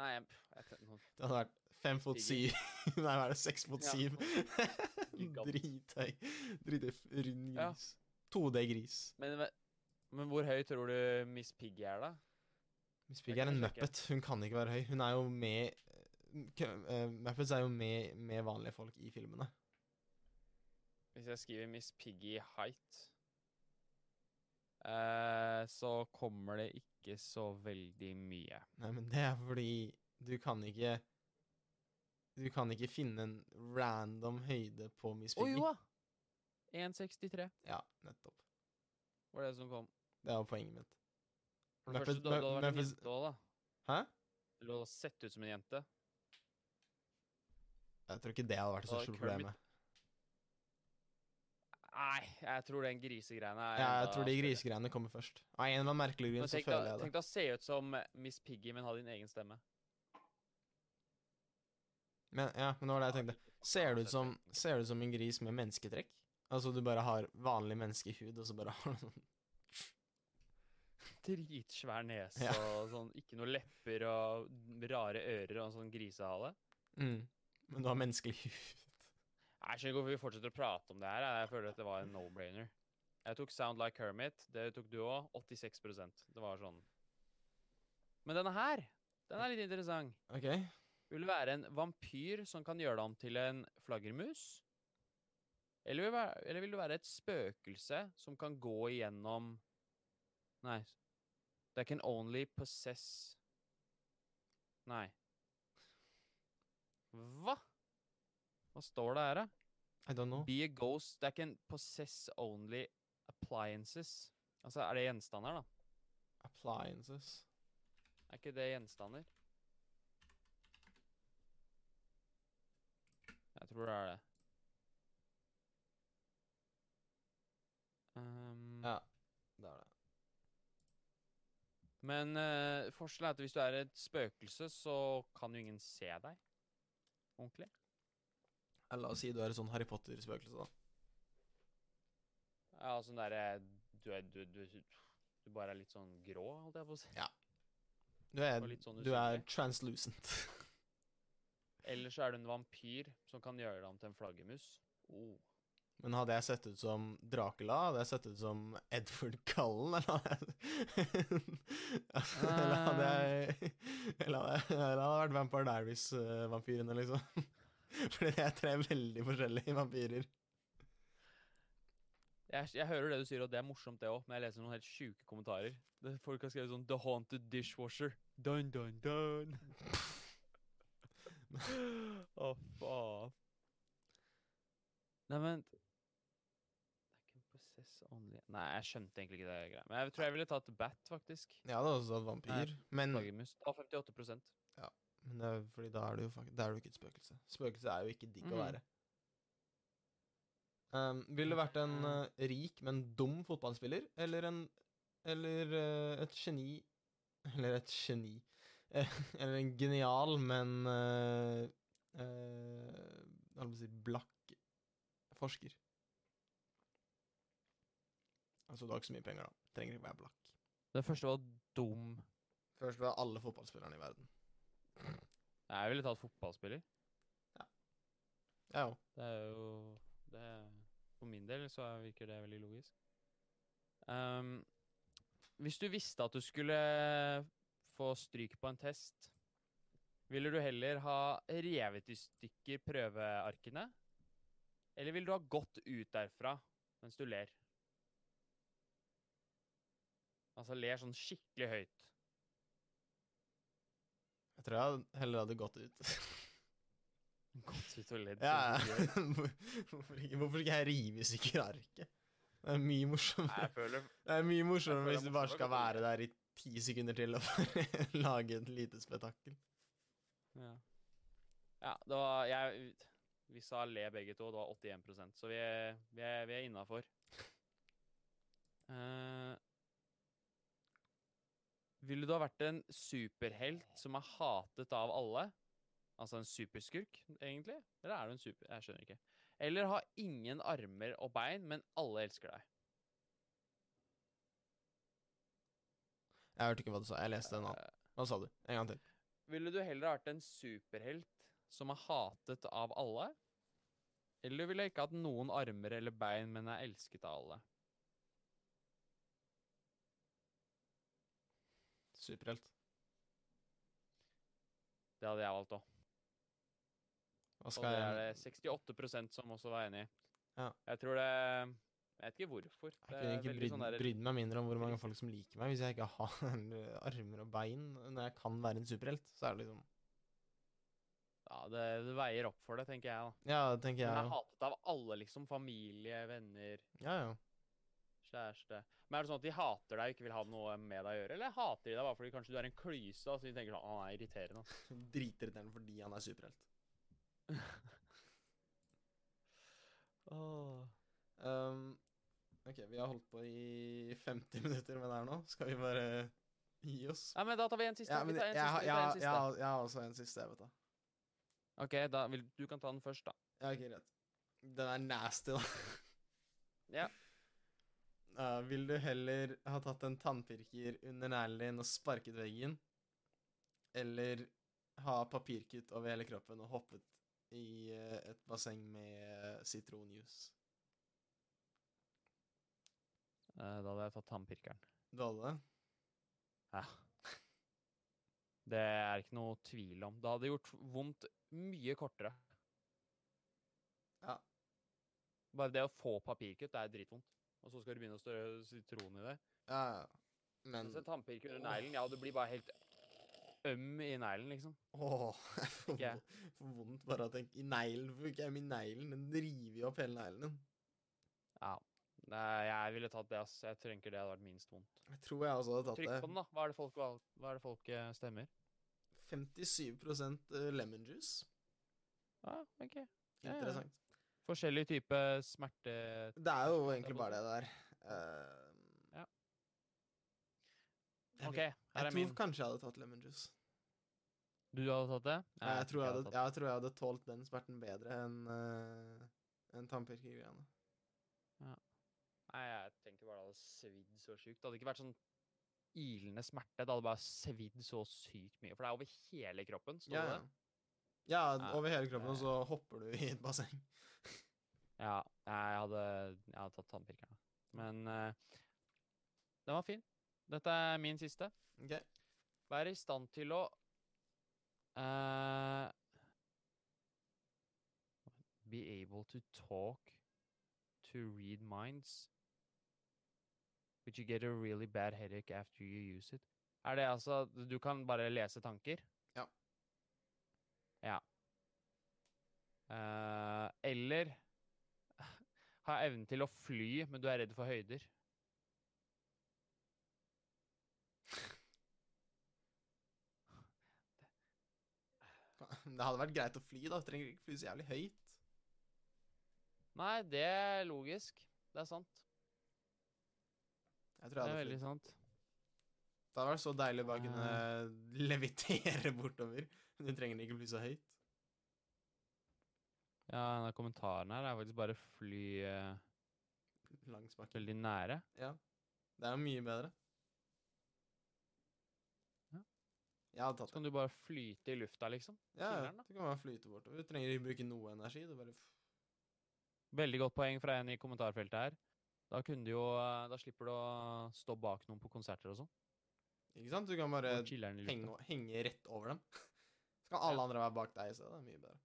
Speaker 2: Nei, jeg, jeg, vet ikke,
Speaker 1: Det hadde vært fem fot
Speaker 2: Piggy.
Speaker 1: syv Nei, hva er det? Seks fot
Speaker 2: Ja.
Speaker 1: syv?
Speaker 2: Gigant.
Speaker 1: Drithøy. Drithøy f- rund
Speaker 2: Ja.
Speaker 1: gris. 2D-gris.
Speaker 2: men, ve- men hvor høy tror du Miss Piggy er, da?
Speaker 1: Miss
Speaker 2: Jeg
Speaker 1: Pigg er
Speaker 2: kan
Speaker 1: en
Speaker 2: jo sjekke.
Speaker 1: muppet. Hun kan ikke være høy. Hun er jo med kø- eh, Muppets er jo med, med vanlige folk i filmene.
Speaker 2: Hvis jeg skriver Miss Piggy height, eh, så kommer det ikke så veldig mye.
Speaker 1: Nei, men det er fordi du kan ikke Du kan ikke finne en random høyde på Miss
Speaker 2: Å
Speaker 1: Piggy.
Speaker 2: jo da! 1,63
Speaker 1: Ja, nettopp.
Speaker 2: var det som kom.
Speaker 1: Det var poenget mitt.
Speaker 2: For det
Speaker 1: Muppet-
Speaker 2: første, du hadde
Speaker 1: Mu-
Speaker 2: vært en
Speaker 1: Muppets-
Speaker 2: jente òg, da.
Speaker 1: Hæ?
Speaker 2: Du hadde sett ut som en jente.
Speaker 1: Jeg tror ikke det hadde vært det
Speaker 2: Og
Speaker 1: største
Speaker 2: Kermit-
Speaker 1: problemet.
Speaker 2: Nei, jeg tror den grisegreiene er
Speaker 1: Ja, jeg
Speaker 2: enda
Speaker 1: tror de
Speaker 2: større.
Speaker 1: grisegreiene kommer først. Av en eller annen merkelig grunn
Speaker 2: Men
Speaker 1: så
Speaker 2: tenk
Speaker 1: føler
Speaker 2: da,
Speaker 1: jeg det.
Speaker 2: tenk da å se ut som Miss Piggy, men ha din egen stemme.
Speaker 1: Men, ja, men det var det jeg tenkte. Ser du ut som, ser du ut som en gris med mennesketrekk? Altså du bare har vanlig menneskehud, og så bare har du sånn
Speaker 2: Dritsvær nese
Speaker 1: Ja.
Speaker 2: og sånn, ikke noe lepper og rare ører og en sånn grisehale.
Speaker 1: mm. Men du har menneskelig hud.
Speaker 2: Nei, Jeg skjønner ikke hvorfor vi fortsetter å prate om det her. jeg. Jeg føler at det var en no-brainer. Jeg tok Sound Like Kermit. Det tok du òg. 86 Det var sånn. Men denne her, den er litt interessant.
Speaker 1: Ok?
Speaker 2: Vil du være en vampyr som kan gjøre deg om til en flaggermus? Eller vil, du være, eller vil du være et spøkelse som kan gå igjennom Nei. Det can only possess Nei. Hva? Hva står det her, da?
Speaker 1: I don't know.
Speaker 2: Be a ghost that can possess only appliances. Altså, er det gjenstander, da?
Speaker 1: Appliances.
Speaker 2: Er ikke det gjenstander? Jeg tror det er det. Ehm,
Speaker 1: Ja. Det er det.
Speaker 2: Men eh, forskjellen er at hvis du er et spøkelse, så kan jo ingen se deg ordentlig.
Speaker 1: Eller la oss si du er et sånn Harry Potter-spøkelse, da.
Speaker 2: Ja, sånn derre du, er- du, du, du bare er litt sånn grå, holdt jeg på å si.
Speaker 1: Du er,
Speaker 2: Og litt sånn
Speaker 1: du er
Speaker 2: usynlig.
Speaker 1: translucent.
Speaker 2: Eller så er du en vampyr som kan gjøre deg om til en flaggermus. Oh.
Speaker 1: Men hadde jeg sett ut som Dracula, hadde jeg sett ut som Edward Cullen, eller hadde jeg Eller
Speaker 2: Ah.
Speaker 1: hadde jeg Eller hadde jeg eller hadde jeg vært Vampire Diaries-vampyrene, liksom. Fordi det er tre veldig forskjellige vampyrer.
Speaker 2: Jeg, jeg hører det du sier, og det er morsomt, det òg, men jeg leser noen helt sjuke kommentarer. Det, folk har skrevet sånn 'The Haunted Dishwasher'. Dun, dun, dun. Å, faen. Nei, men I can possess only Nei, jeg skjønte egentlig ikke det greia. Men jeg tror jeg ville tatt Bat, faktisk.
Speaker 1: Jeg hadde også tatt vampyr, men,
Speaker 2: Flaggermus. Ta 58
Speaker 1: men det er, fordi da er du jo fakt- da er du ikke et spøkelse. Spøkelse er jo ikke digg å
Speaker 2: Mm.
Speaker 1: være. Um, ville du vært en
Speaker 2: Mm.
Speaker 1: eh, rik, men dum fotballspiller, eller en Eller eh, et geni Eller et geni. Eh, eller en genial, men eh, eh, Hva skal man si Blakk forsker. Altså, du har ikke så mye penger, da. Trenger ikke være blakk.
Speaker 2: Den første var dum.
Speaker 1: Først var alle fotballspillerne i verden.
Speaker 2: Nei, jeg ville tatt fotballspiller.
Speaker 1: Jeg òg.
Speaker 2: Det er jo det, For min del så er- virker det veldig logisk. Ehm, hvis du visste at du skulle få stryk på en test, ville du heller ha revet i stykker prøvearkene? Eller ville du ha gått ut derfra mens du ler? Altså ler sånn skikkelig høyt.
Speaker 1: Jeg tror jeg heller hadde gått ut.
Speaker 2: Gått ut og ledd.
Speaker 1: ja,
Speaker 2: sånn
Speaker 1: ja.
Speaker 2: skikkelig høyt.
Speaker 1: Hvor- Hvorfor ikke, hvorfor ikke jeg rive i stykker arket? Det er mye
Speaker 2: Nei, jeg
Speaker 1: morsommere.
Speaker 2: føler
Speaker 1: Det er mye
Speaker 2: jeg
Speaker 1: morsommere
Speaker 2: føler
Speaker 1: hvis du bare
Speaker 2: morsommere
Speaker 1: skal
Speaker 2: kan
Speaker 1: være der i ti sekunder til og bare lage et lite spetakkel.
Speaker 2: Ja. Ja, det var jeg, Vi sa le begge to, og det var 81 så vi er, vi er, vi er innafor. ville du ha vært en superhelt som er hatet av alle? Altså en superskurk, egentlig? Eller er du en super... Jeg skjønner ikke. Eller ha ingen armer og bein, men alle elsker deg.
Speaker 1: Jeg hørte ikke hva du sa. Jeg leste en annen.
Speaker 2: Eh,
Speaker 1: Hva sa du? En gang til.
Speaker 2: Ville du heller vært en superhelt som er hatet av alle? Eller ville jeg ikke hatt noen armer eller bein, men er elsket av alle?
Speaker 1: Superhelt.
Speaker 2: Det hadde jeg valgt òg.
Speaker 1: Hva
Speaker 2: Og det
Speaker 1: skal
Speaker 2: er det
Speaker 1: jeg
Speaker 2: 68 som også var enig i.
Speaker 1: Ja.
Speaker 2: Jeg tror det Jeg vet ikke hvorfor.
Speaker 1: Jeg kunne ikke
Speaker 2: veldig
Speaker 1: brydd,
Speaker 2: sånn der-
Speaker 1: brydd meg mindre om hvor mange folk som liker meg, hvis jeg ikke har armer og bein når jeg kan være en superhelt. Så er det liksom
Speaker 2: Ja, det, det veier opp for det, tenker jeg. da.
Speaker 1: Ja, det tenker
Speaker 2: Men
Speaker 1: jeg
Speaker 2: jeg er
Speaker 1: òg.
Speaker 2: hatet av alle, liksom. Familie, venner,
Speaker 1: Ja, ja.
Speaker 2: kjæreste. Men er det sånn at de hater deg og ikke vil ha noe med deg å gjøre? Eller hater de deg bare fordi kanskje du er en klyse, og så de tenker sånn «Å, Han er irriterende. ass».
Speaker 1: Dritirriterende fordi han er superhelt. Um, ok, vi har holdt på i 50 minutter med det her nå. Skal vi bare gi oss?
Speaker 2: Nei, men da tar vi en siste.
Speaker 1: Ja, men
Speaker 2: vi
Speaker 1: jeg,
Speaker 2: tar en siste.
Speaker 1: har-
Speaker 2: vi
Speaker 1: jeg,
Speaker 2: tar en
Speaker 1: har-
Speaker 2: siste.
Speaker 1: jeg, har- jeg har også en siste, jeg vet da.
Speaker 2: Ok, da vil, du kan ta den først, da.
Speaker 1: Ja, ok, greit. Den er nasty, da.
Speaker 2: Ja.
Speaker 1: Eh, vil du heller ha tatt en tannpirker under neglen din og sparket veggen, eller ha papirkutt over hele kroppen og hoppet i eh, et basseng med sitronjuice?
Speaker 2: Eh, Da hadde jeg tatt tannpirkeren.
Speaker 1: Du hadde det?
Speaker 2: Ja. Det er ikke noe tvil om. Det hadde gjort vondt mye kortere.
Speaker 1: Ja.
Speaker 2: Bare det å få papirkutt, det er dritvondt. Og så skal du begynne å strø sitron i det.
Speaker 1: Ja, ja. Men
Speaker 2: Mens en tannpirker under
Speaker 1: Åh.
Speaker 2: neglen, ja, du blir bare helt øm i neglen, liksom.
Speaker 1: Åh, jeg får
Speaker 2: Ikke jeg.
Speaker 1: vo- får vondt bare av å tenke I neglen, hvorfor ikke jeg min neglen? Den river jo opp hele neglen din.
Speaker 2: Ja. Nei, jeg ville tatt det, ass. Jeg tenker det hadde vært minst vondt.
Speaker 1: Jeg tror jeg også hadde
Speaker 2: Trykk på
Speaker 1: tatt det.
Speaker 2: den, da. Hva er det folk, valg- hva er det folk eh, stemmer?
Speaker 1: 57 eh, lemon juice.
Speaker 2: Ja, ok. Ja, ja.
Speaker 1: Interessant.
Speaker 2: Forskjellig type smerte...
Speaker 1: Det er jo egentlig
Speaker 2: godt.
Speaker 1: bare det der. Eh,
Speaker 2: Ja.
Speaker 1: jeg vet-
Speaker 2: Ok, her
Speaker 1: Jeg
Speaker 2: er
Speaker 1: tror
Speaker 2: min.
Speaker 1: kanskje jeg hadde tatt lemon juice.
Speaker 2: Du hadde tatt det? Nei,
Speaker 1: jeg, tror jeg,
Speaker 2: ikke
Speaker 1: hadde, jeg tror jeg hadde tålt den smerten bedre enn uh, en tannpirkergreiene.
Speaker 2: Nei, jeg tenker bare det hadde svidd så sjukt. Det hadde ikke vært sånn ilende smerte. Det hadde bare svidd så sykt mye. For det er over hele kroppen. Står
Speaker 1: Ja,
Speaker 2: det
Speaker 1: ja.
Speaker 2: det?
Speaker 1: ja,
Speaker 2: Ja,
Speaker 1: over hele kroppen, og
Speaker 2: det-
Speaker 1: så hopper du i et basseng.
Speaker 2: Ja, nei, jeg hadde, jeg hadde tatt tannpirkeren. Men eh, den var fin. Dette er min siste.
Speaker 1: Ok,
Speaker 2: Være i stand til å eh, Be able to talk to read minds. But you get a really bad headache after you use it. Er det altså Du kan bare lese tanker?
Speaker 1: Ja.
Speaker 2: Ja. Eh, eller ha evnen til å fly, men du er redd for høyder.
Speaker 1: Det hadde vært greit å fly, da. Trenger ikke fly så jævlig høyt.
Speaker 2: Nei, det er logisk. Det er sant.
Speaker 1: Jeg
Speaker 2: Det
Speaker 1: tror jeg
Speaker 2: er
Speaker 1: hadde
Speaker 2: veldig Ah.
Speaker 1: flydd.
Speaker 2: sant.
Speaker 1: Det hadde vært så deilig å bare kunne levitere bortover. Du trenger ikke fly så høyt.
Speaker 2: Ja, denne kommentaren her er faktisk bare fly eh,
Speaker 1: Langs bakken.
Speaker 2: veldig nære.
Speaker 1: Ja. Det er jo mye bedre.
Speaker 2: Ja.
Speaker 1: Jeg hadde
Speaker 2: Så
Speaker 1: tatt det.
Speaker 2: kan du bare flyte i lufta, liksom.
Speaker 1: Ja, ja,
Speaker 2: chiller'n, da.
Speaker 1: du kan bare flyte bortover. Du trenger ikke bruke noe energi. Du bare f-
Speaker 2: Veldig godt poeng fra en i kommentarfeltet her. Da, kunne du jo, eh, da slipper du å stå bak noen på konserter og sånn.
Speaker 1: Ikke sant? Du kan bare
Speaker 2: og chiller'n i lufta.
Speaker 1: henge, henge rett over dem. Så kan alle
Speaker 2: Ja.
Speaker 1: andre være bak deg i stedet. Det er mye bedre.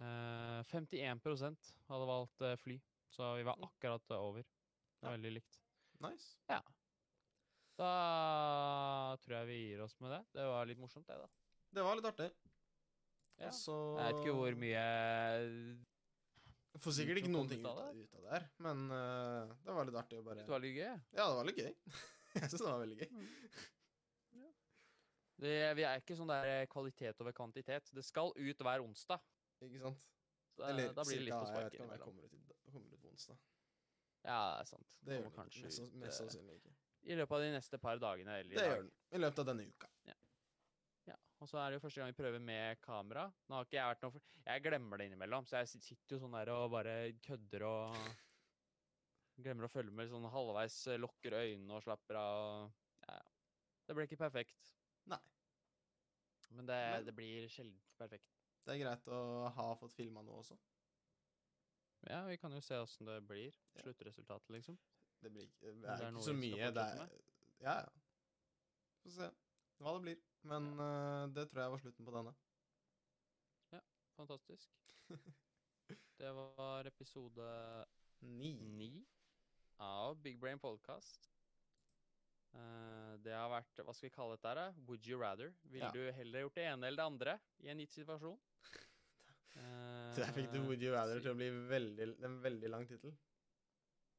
Speaker 2: Eh, 51 hadde valgt eh, fly, så vi var akkurat eh, over. Det var
Speaker 1: Ja.
Speaker 2: veldig likt.
Speaker 1: Nice.
Speaker 2: Da tror jeg vi gir oss med det. Det var litt morsomt, det, da.
Speaker 1: Det var litt artig.
Speaker 2: Ja.
Speaker 1: Og så
Speaker 2: Jeg vet ikke hvor mye eh,
Speaker 1: Får sikkert
Speaker 2: ut
Speaker 1: ikke
Speaker 2: som
Speaker 1: noen
Speaker 2: kom
Speaker 1: ting
Speaker 2: ut
Speaker 1: ut
Speaker 2: av
Speaker 1: av, ut av det her, men øh, det var litt artig å bare
Speaker 2: Det var litt gøy. jeg.
Speaker 1: Ja, det var litt gøy. Jeg syns det var veldig gøy.
Speaker 2: Det, vi er ikke sånn der eh, kvalitet over kvantitet. Det skal ut hver onsdag.
Speaker 1: Ikke sant?
Speaker 2: Så, eh,
Speaker 1: Eller
Speaker 2: da blir det litt liksom.
Speaker 1: cirka,
Speaker 2: å
Speaker 1: jeg vet
Speaker 2: sparke
Speaker 1: ikke om jeg kommer
Speaker 2: innimellom.
Speaker 1: ut, i, dag- kommer ut på onsdag.
Speaker 2: Ja, det er sant.
Speaker 1: Det gjør
Speaker 2: Kommer
Speaker 1: den ikke.
Speaker 2: kanskje
Speaker 1: Mest, sanns-
Speaker 2: ut,
Speaker 1: mest
Speaker 2: eh,
Speaker 1: sannsynlig ikke.
Speaker 2: I løpet av de neste par dagene eller i
Speaker 1: Det
Speaker 2: dag.
Speaker 1: gjør den. I løpet av denne uka.
Speaker 2: Og så er det jo første gang vi prøver med kamera. Nå har ikke jeg vært noe for... Jeg glemmer det innimellom, så jeg sit- sitter jo sånn der og bare kødder og Glemmer å følge med sånn halvveis, eh, lukker øynene og slapper av. og- Ja, ja. det blir ikke perfekt.
Speaker 1: Nei.
Speaker 2: Men det,
Speaker 1: Men-
Speaker 2: det blir sjelden perfekt.
Speaker 1: Det er greit å ha fått filma nå også.
Speaker 2: Ja, vi kan jo se åssen det blir.
Speaker 1: Ja.
Speaker 2: Sluttresultatet, liksom.
Speaker 1: Det blir ikke, det
Speaker 2: det
Speaker 1: er
Speaker 2: er
Speaker 1: ikke
Speaker 2: noe
Speaker 1: så
Speaker 2: vi
Speaker 1: mye.
Speaker 2: skal
Speaker 1: Det
Speaker 2: fortsette
Speaker 1: er Ja, ja. Få se hva det blir. Men eh, det tror jeg var slutten på denne.
Speaker 2: Fantastisk. Det var episode
Speaker 1: Ni.
Speaker 2: ni av Big Brain Podcast. Eh, det har vært Hva skal vi kalle dette? her, da? Would you rather? Ville
Speaker 1: Ja.
Speaker 2: du heller gjort det ene eller det andre i en gitt situasjon? Uh,
Speaker 1: Der fikk du Would You Rather til å bli veldig, en veldig lang tittel.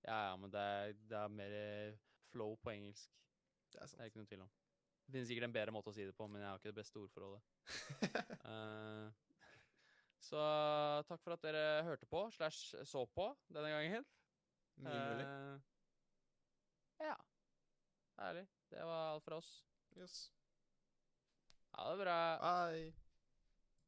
Speaker 2: Ja, ja, men det er, det er mer eh, flow på engelsk.
Speaker 1: Det er
Speaker 2: Det er
Speaker 1: sant.
Speaker 2: ikke noe tvil om. Det finnes sikkert en bedre måte å si det på, men jeg har ikke det beste ordforrådet. Eh, så takk for at dere hørte på slash så på denne gangen.
Speaker 1: Mye mulig.
Speaker 2: Eh, ja. Herlig. Det var alt fra oss.
Speaker 1: Yes.
Speaker 2: Ha det bra.
Speaker 1: Bye.